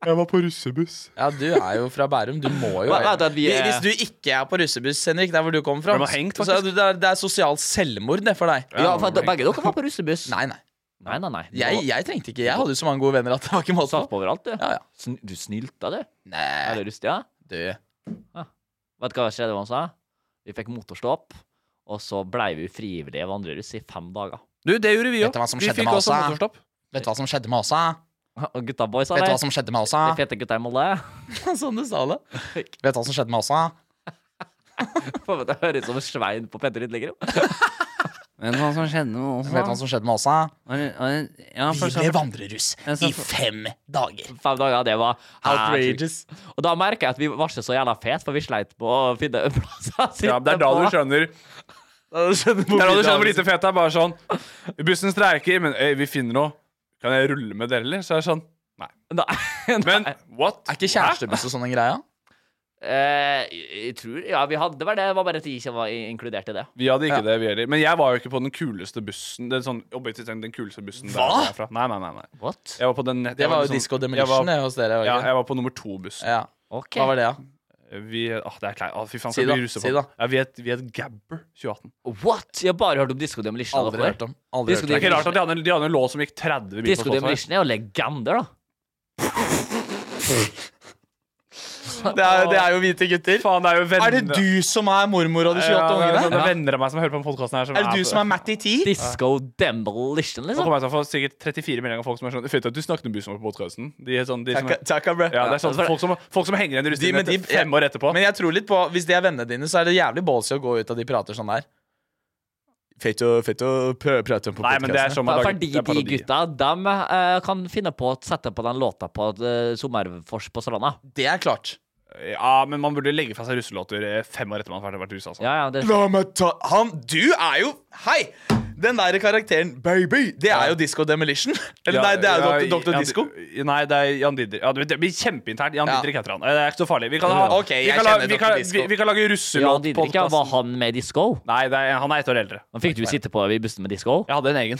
Jeg var på russebuss.
Ja, du er jo fra Bærum. Du må jo
Hva- hva er det at vi
Hvis-
er-
Hvis du ikke er på russebuss, Henrik, der hvor du kommer fra,
Ble man hengt,
så er du- det, er, det er sosialt selvmord det for deg.
Ja, for at begge dere var på russebuss
Nei, nei.
nei, nei, nei. Du
Jeg, jeg trengte ikke. Jeg hadde jo så mange gode venner at det var ikke
var
måte på.
satt på overalt du
Ja, ja.
Sn Du snylta du Er
Nei,
det rustig, ja?
du.
Vet du hva skjedde hva han sa? Vi fikk motorstopp Og så ble vi frivillige vandreruss i fem dager
Du, det gjorde vi
Vet
òg.
du hva som
Vi
skjedde
fikk
med
også
Åsa?
motorstopp.
Vet du hva som skjedde med Åsa?
Og gutta boys,
Vet du
eller?
hva som skjedde med
De
Åsa?
fete gutta i Molde
Sånn du sa det. Vet du hva som skjedde med Åsa?
Får meg til å høre ut som Svein på Petter Lindlegger.
Vet du hva som skjedde med
Vet du hva som skjedde med Åsa?
Ja,
Vi ble vandreruss i fem dager.
Fem dager, det var
Outrageous.
Og da merker jeg at vi var ikke så jævla fete, for vi sleit på å finne plasser. å sitte
det er da
på.
du skjønner Der hadde skjedd hvor lite fett det er. Bare sånn Bussen streiker, men øy, vi finner noe. Kan jeg rulle med dere, eller? Så er det sånn Nei. Men what?
Er ikke kjærestebuss og sånn en greie?
Eh, jeg tror Ja, vi hadde vel det. Det var bare at de ikke var inkludert i det.
Vi hadde ikke det, vi heller. Men jeg var jo ikke på den kuleste bussen. Den, sånn, objektivt sett, den kuleste bussen der
Hva?
jeg er fra. Nei, nei, nei, nei.
What?
Jeg var på den,
Det var jo Disco Demolition, det, hos dere, var det
Ja,
ikke?
jeg var på nummer to-bussen.
Ja. Hva var det, da?
Vi, åh, det er kleint. Åh, Fy faen,
Si
skal
da,
vi ruse
si
på
da.
Ja, vi het, vi het Gabber 2018.
What? Jeg har bare hørt om Disco Demolition.
Aldri
da, for.
hørt om. Aldri
Disco
Det er ikke rart
Demolition-
at de hadde, en- de hadde en låt som gikk 30 mil på
Disco
Spotify.
Demolition er jo legender, da.
Det er, det er jo hvite gutter.
Faen, det er jo venner
Er det du som er mormor av de 28
Ja, det er sånn, det
ungene?
er venner av meg som hører på den podcasten her.
Er det du som er Matty T?
Disco Demolition,
Nå
liksom.
kommer jeg til å få sikkert 34 meldinger av folk som er sånn Fint at du snakket om bussen vår på podcasten De er sånn de som
Takka- takka, bre.
Ja, det er sånn folk som, folk som henger igjen i
De-
russetiden
men de-
etter fem år etterpå.
Men jeg tror litt på Hvis de er vennene dine, så er det jævlig ballsy å gå ut og de prater sånn der. Fett å, fett å pr- prate om på
Nei, men det er
podcasten.
sånn man lager-
Fordi
det er
de
parodi.
gutta de eh, kan finne på å sette på den låta på eh, Sommerfors på Stranda.
sånn- Det er klart.
Ja, men man burde legge fra seg russelåter eh, fem år etter man har vært rusa. Altså.
Ja, ja, det,
La meg ta Han, du er jo Hei! Den der karakteren Baby, det er jo Disco Demolition. Eller nei, det er jo Dr. Dr.
Jan-
Disco.
Nei, det er Jan Didrik. Ja, det det blir kjempeinternt. Jan
Ja.
Didrik heter han. Eh, Det er ikke så farlig. Vi kan, ha,
Ok, jeg
vi kan, la,
kjenner
vi
Dr.
kan, vi,
Disco.
vi kan lage
ja,
russelåt
de,
på
ikke, var han med i disco?
Nei, det er, han er ett år eldre.
Men Fikk du sitte på i bussen med disco?
Jeg hadde en egen.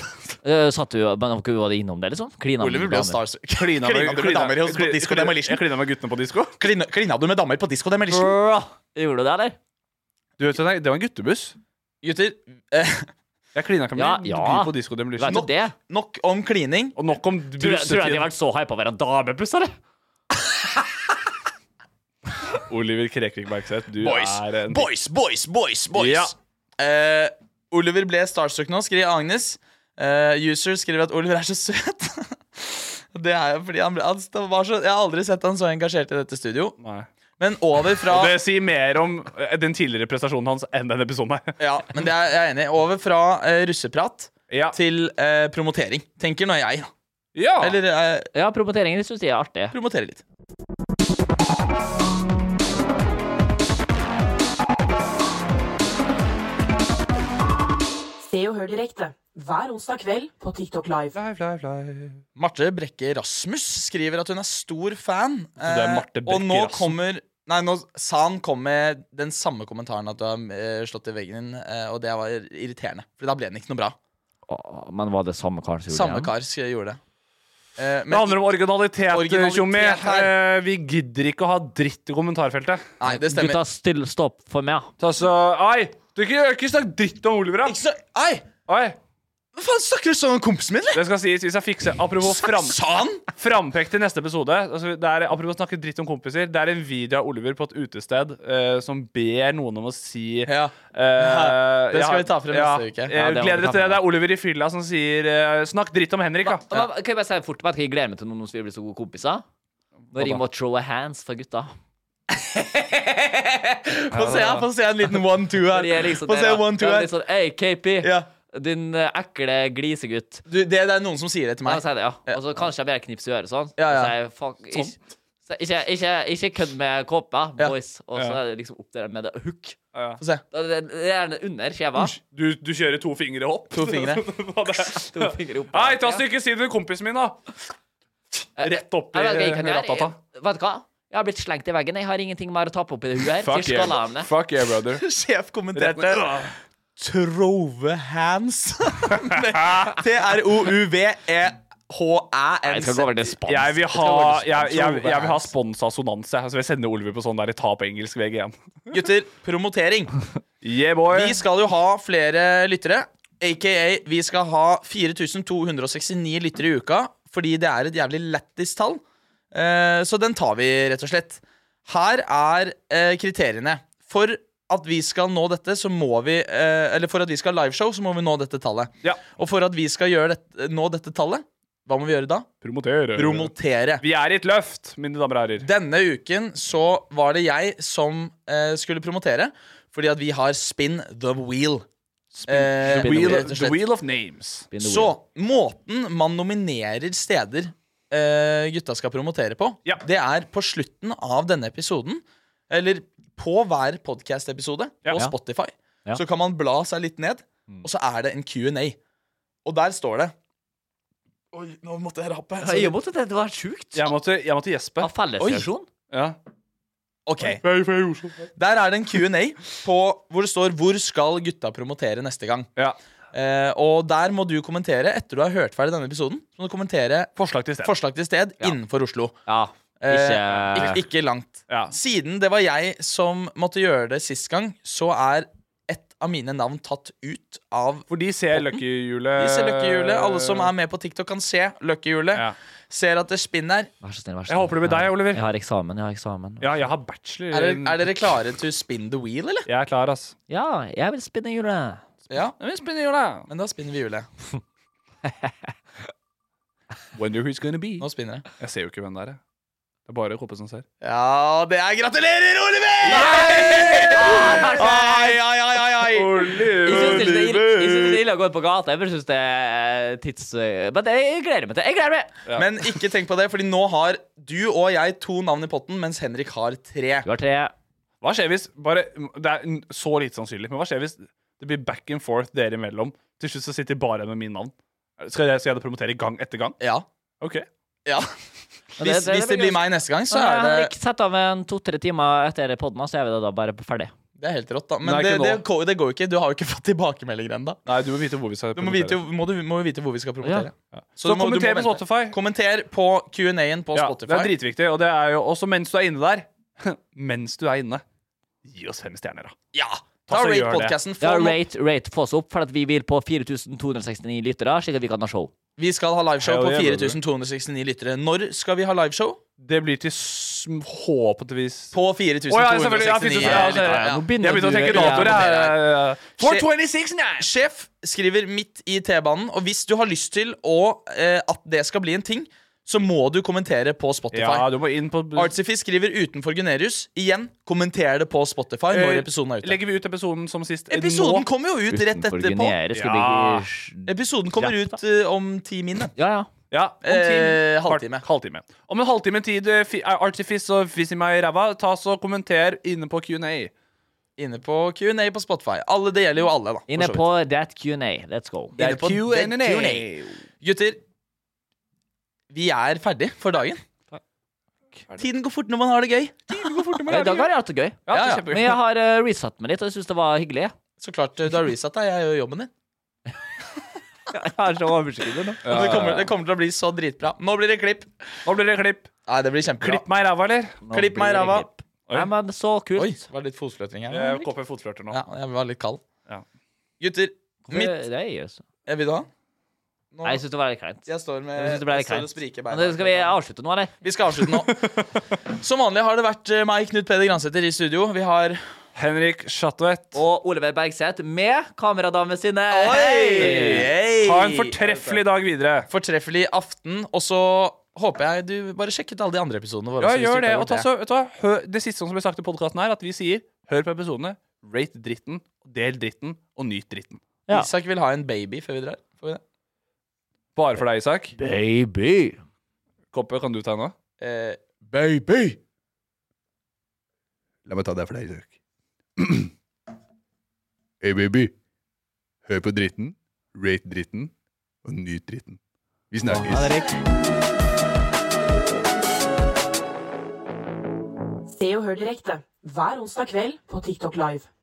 Eh, satt du men var det innom det, liksom? Klina med
Oliver ble jo
damer.
starstruck.
Klina
Klina
med-
med damer hos- på
klina-
Disco
klina-
Demolition.
Jeg klina med guttene på disko.
Klina, klina du med damer på Disco Demolition?
Bra. Gjorde du det, eller?
Du vet, det var en guttebuss.
Gutter, eh,
Jeg klina ikke med
Ja,
en
ja.
by på Disco Demolition.
Vet du det?
nok om klining.
Og nok om
Tror jeg, tror jeg de har
russetiden.
vært så hypa over en damebuss, eller?
Oliver Krekvik Bergseth, du
Boys,
er en
boys, boys, boys, boys.
Ja.
Eh, Oliver ble starstruck nå, skriver Agnes. Eh, user skriver at Oliver er så søt. det er jo fordi han ble han sta- var så, Jeg har aldri sett han så engasjert i dette studio.
Nei.
Men over fra
Og det sier mer om eh, den tidligere prestasjonen hans enn denne episoden her.
Ja, men det er jeg er enig i. Over fra eh, russeprat
Ja.
til eh, promotering. Tenker nå jeg, da.
ja.
Eller eh,
Ja, promoteringen syns de er artig.
promotere litt.
Se og hør direkte hver onsdag kveld på TikTok Live.
Fly, fly, fly.
Marte Brekke Rasmus skriver at hun er stor fan.
det er Marte
eh,
Brekke
og nå
Rasmus.
kommer Nei, nå sa han kom med den samme kommentaren at du har eh, slått i veggen din, eh, og det var irriterende. For da ble den ikke noe bra.
Å, Men var det samme kar som gjorde
Samme
det?
kar sk- gjorde det. Eh,
Det handler om originalitet, eh,
Originalitet
Tjommi.
her.
Eh, Vi gidder ikke å ha dritt i kommentarfeltet.
Nei, det stemmer.
Gutta, still stopp for meg.
Ta så Ai! Du ikke, ikke snakk dritt om Oliver,
Ikke
da.
så, ei,
Ai.
hva faen snakker du sånn om kompisen min, eller?
Det skal sies hvis jeg fikser Apropos
Sa-
fram,
Sa han?
frampekt til neste episode. Altså, det er, apropos snakke dritt om kompiser. Det er en video av Oliver på et utested eh, som ber noen om å si
Ja.
Eh,
Det skal
ja,
vi ta frem
ja,
neste uke.
eh,
Ja, det må vi
gleder
ta
dere til
frem.
det. Det er Oliver i fylla som sier eh, 'snakk dritt om Henrik', da.
Hva- Kan jeg bare si det fort, vet du hva jeg gleder meg til nå som vi blir så gode kompiser? Når jeg må throw a hands for gutta.
Få se, her, få se en liten one-two her.
Når jeg er liksom
Få
der,
se
da.
one-two
Ja,
her.
litt sånn, Hey, KP,
Ja.
din eh, ekle glisegutt.
Du, det, det er noen som sier det til
Ja,
meg.
si det, ja. Og så kanskje jeg bare knipser i øret sånn.
Ja, ja.
Så sier jeg, fuck, ikke, så ikke, ikke, ikke kødd med kåpa,
Ja.
boys. Og så
Ja.
er det liksom opp der med det hook.
Få se.
Da er Det det er det under skjeva.
Du, du kjører to fingre opp?
To fingre.
Hva det er?
To fingre opp.
Nei, ta stykket siden til kompisen min, da.
Eh,
Rett opp i
Jeg vet ikke, jeg kan gjøre-
ratata.
Vet du hva? Jeg har blitt slengt i veggen. Jeg har ingenting mer å tappe opp i det huet her. Til skallarmene.
Fuck yeah, brother.
Sjef kommenterte
Dette
Trove hands. E T-r-o-u-v-e-h-æ-n-s.
Jeg skal gå over til spans.
jeg vil ha,
over til
jeg, jeg,
Trove
jeg vil ha
hands.
sponsa sonanse. Altså, jeg sender Oliver på sånn der ta på engelsk VG1.
Gutter, promotering.
Yeah, boy.
Vi skal jo ha flere lyttere. AKA, vi skal ha 4269 lyttere i uka, fordi det er et jævlig lættis tall. Eh, Så den tar vi, rett og slett. Her er eh, kriteriene. For at vi skal nå dette, så må vi eh, Eller for at vi skal ha liveshow, så må vi nå dette tallet.
Ja.
Og for at vi skal gjøre dette, nå dette tallet, hva må vi gjøre da?
Promotere.
Promotere.
Vi er i et løft, mine damer og herrer.
Denne uken så var det jeg som eh, skulle promotere, fordi at vi har Spin the Wheel. Eh,
the wheel.
rett og slett.
wheel of names.
Spin the
Så
wheel.
måten man nominerer steder eh, gutta skal promotere på,
Ja.
det er på slutten av denne episoden, eller på hver podcast-episode
Ja.
på
Ja.
Spotify, Så kan man bla seg litt ned, og så er det en Q&A. Og der står det Oi, nå måtte jeg rape.
Ja, jeg måtte det, det var sjukt.
Jeg måtte, jeg måtte gjespe.
Av fellesreaksjon?
Ja.
OK. Der er det en Q&A på- hvor det står 'Hvor skal gutta promotere neste gang?' Eh, og der må du kommentere etter du har hørt ferdig denne episoden. Så må du kommentere
Forslag til sted,
innenfor Oslo.
ikke-
Eh, ikke, ikke langt. Siden det var jeg som måtte gjøre det sist gang, så er ett av mine navn tatt ut av
For de ser Lucky-hjulet.
Disse løkkehjulet. Alle som er med på TikTok, kan se løkkehjulet. Ser at det spinner.
Vær så snill, vær
Jeg
så snill.
håper det blir deg, Oliver.
Jeg har eksamen. jeg har eksamen
Ja, jeg har bachelor.
Er, dere- er dere klare til å spin the wheel, eller?
Jeg er klar, ass.
Ja, jeg vil spinne hjulet.
Ja, vi spinner hjulet. Men da spinner vi hjulet.
Wonder who's gonna be.
Nå spinner jeg.
Jeg ser jo ikke hvem det er. jeg. Det er bare Hoppe som ser.
Ja, det er Gratulerer, Oliver! Ai, ai, ai, ai, ai.
Jeg syns det er ille- jeg synes det er ille å gå ut på gata. Jeg bare syns det er tids... Men det, jeg gleder meg til Jeg gleder meg!
Men ikke tenk på det, Fordi nå har du og jeg to navn i potten, mens Henrik har tre.
Du har tre.
Hva skjer hvis bare, Det er n- så lite sannsynlig, men hva skjer hvis det blir back and forth dere imellom? Til slutt så sitter jeg bare igjen med min navn. Skal jeg, skal jeg da promotere gang etter gang?
Ja.
OK.
Ja. Hvis, hvis det blir meg neste gang, så
Ja,
er det
Henrik, Sett av en to-tre timer etter podden, så er vi da bare ferdig.
Det er helt rått, da. Men
Nei,
det,
ikke
det,
nå.
går- det går jo ikke. Du har jo ikke fått tilbakemeldinger ennå.
Nei, du må vite hvor vi skal
Du må vite, må du må jo vite hvor vi skal promotere.
Ja.
Så,
Så
du må, du må
kommenter på
vente. Kommenter på Q&A-en på
Ja,
Spotify.
det er dritviktig, og det er jo også mens du er inne der. mens du er inne. Gi oss fem stjerner, da.
Ja!
Ta
Da
så
rate
gjør det.
podcasten. Få
Ja,
noe-
rate, rate, få oss opp, for at vi vil på 4269 lyttere, slik at vi kan ha show.
Vi skal ha liveshow
Hell
på
yeah, brother.
4269 lyttere. Når skal vi ha liveshow?
Det blir til håpentligvis
På
Å, ja, selvfølgelig. Ja,
4269
fint, ja, ja, ja. Nå begynner
Jeg begynte å
du-
tenke
ja,
datoer, jeg.
ja, ja, ja. 426,
Sjef skriver midt i T-banen, og hvis du har lyst til å, eh, at det skal bli en ting, så må du kommentere på Spotify.
Ja, du må inn på
Artsify skriver utenfor Gunerius. Igjen, kommenter det på Spotify når
Eh,
episoden er ute.
Legger vi ut episoden som sist?
Episoden kommer jo ut rett
Utenfor
etterpå.
Gunerius, skal
Ja.
vi-
Episoden kommer ut eh, om ti min.
Ja, ja.
Ja, om
Eh,
time.
halvtime.
Kvart- halvtime. Om en halvtime tid, eh, fi- eh, Artifice og Fizz i meg i ræva, ta så kommenter inne på Q&A.
Inne på Q&A på Spotify. Alle, det gjelder jo alle, da. for
Inne
så vidt.
på that Q&A. Let's go.
Inne på den Gutter, vi er ferdig for dagen. Tiden går fort når man har det gøy.
I dag har jeg hatt det gøy.
Ja, det er kjempegøy.
Men jeg har eh, resatt meg litt, og jeg syns det var hyggelig.
Så klart, eh, du har resatt deg. Jeg gjør jobben din.
Jeg har så oversikt nå.
Men Det, kommer, det kommer til å bli så dritbra. Nå blir det klipp.
Nå blir det klipp.
Nei, det blir kjempebra.
Klipp meg i ræva, eller?
Klipp meg i ræva.
Nei, men så kult.
Oi, det var litt fotsløtring her.
Jeg kåper fotflørter nå.
Ja, jeg var litt kald.
Ja.
Gutter, mitt
Det, det er jo så-
Eh, Vil du ha? Nå-
Nei, jeg syns det var litt kleint.
Jeg står med
Jeg synes det ble litt
jeg står
kleint.
og spriker
Men
beina.
det- Skal vi avslutte nå, eller?
Vi skal avslutte nå. Som vanlig har det vært eh, meg, Knut Peder Gransæter, i studio. Vi har
Henrik Schatwett.
Og Oliver Bergseth med kameradamene sine.
Hei!
Ha en fortreffelig dag videre.
Fortreffelig aften. Og så håper jeg du bare sjekket alle de andre episodene våre.
Ja,
også, hvis du
gjør
ikke
det.
har
Og
gjort
ta så, vet du hva, hør, det siste som blir sagt i podkasten, er at vi sier hør på episodene, rate dritten, del dritten og nyt dritten.
Ja.
Isak vil ha en baby før vi drar. Får vi det?
Bare for deg, Isak.
Baby.
Koppe, kan du ta nå?
Eh,
Baby! La meg ta det for deg, Isak. hey, baby. Hør på dritten, rate dritten og nyt dritten. Vi snakkes.
Se og hør direkte hver onsdag kveld på TikTok Live.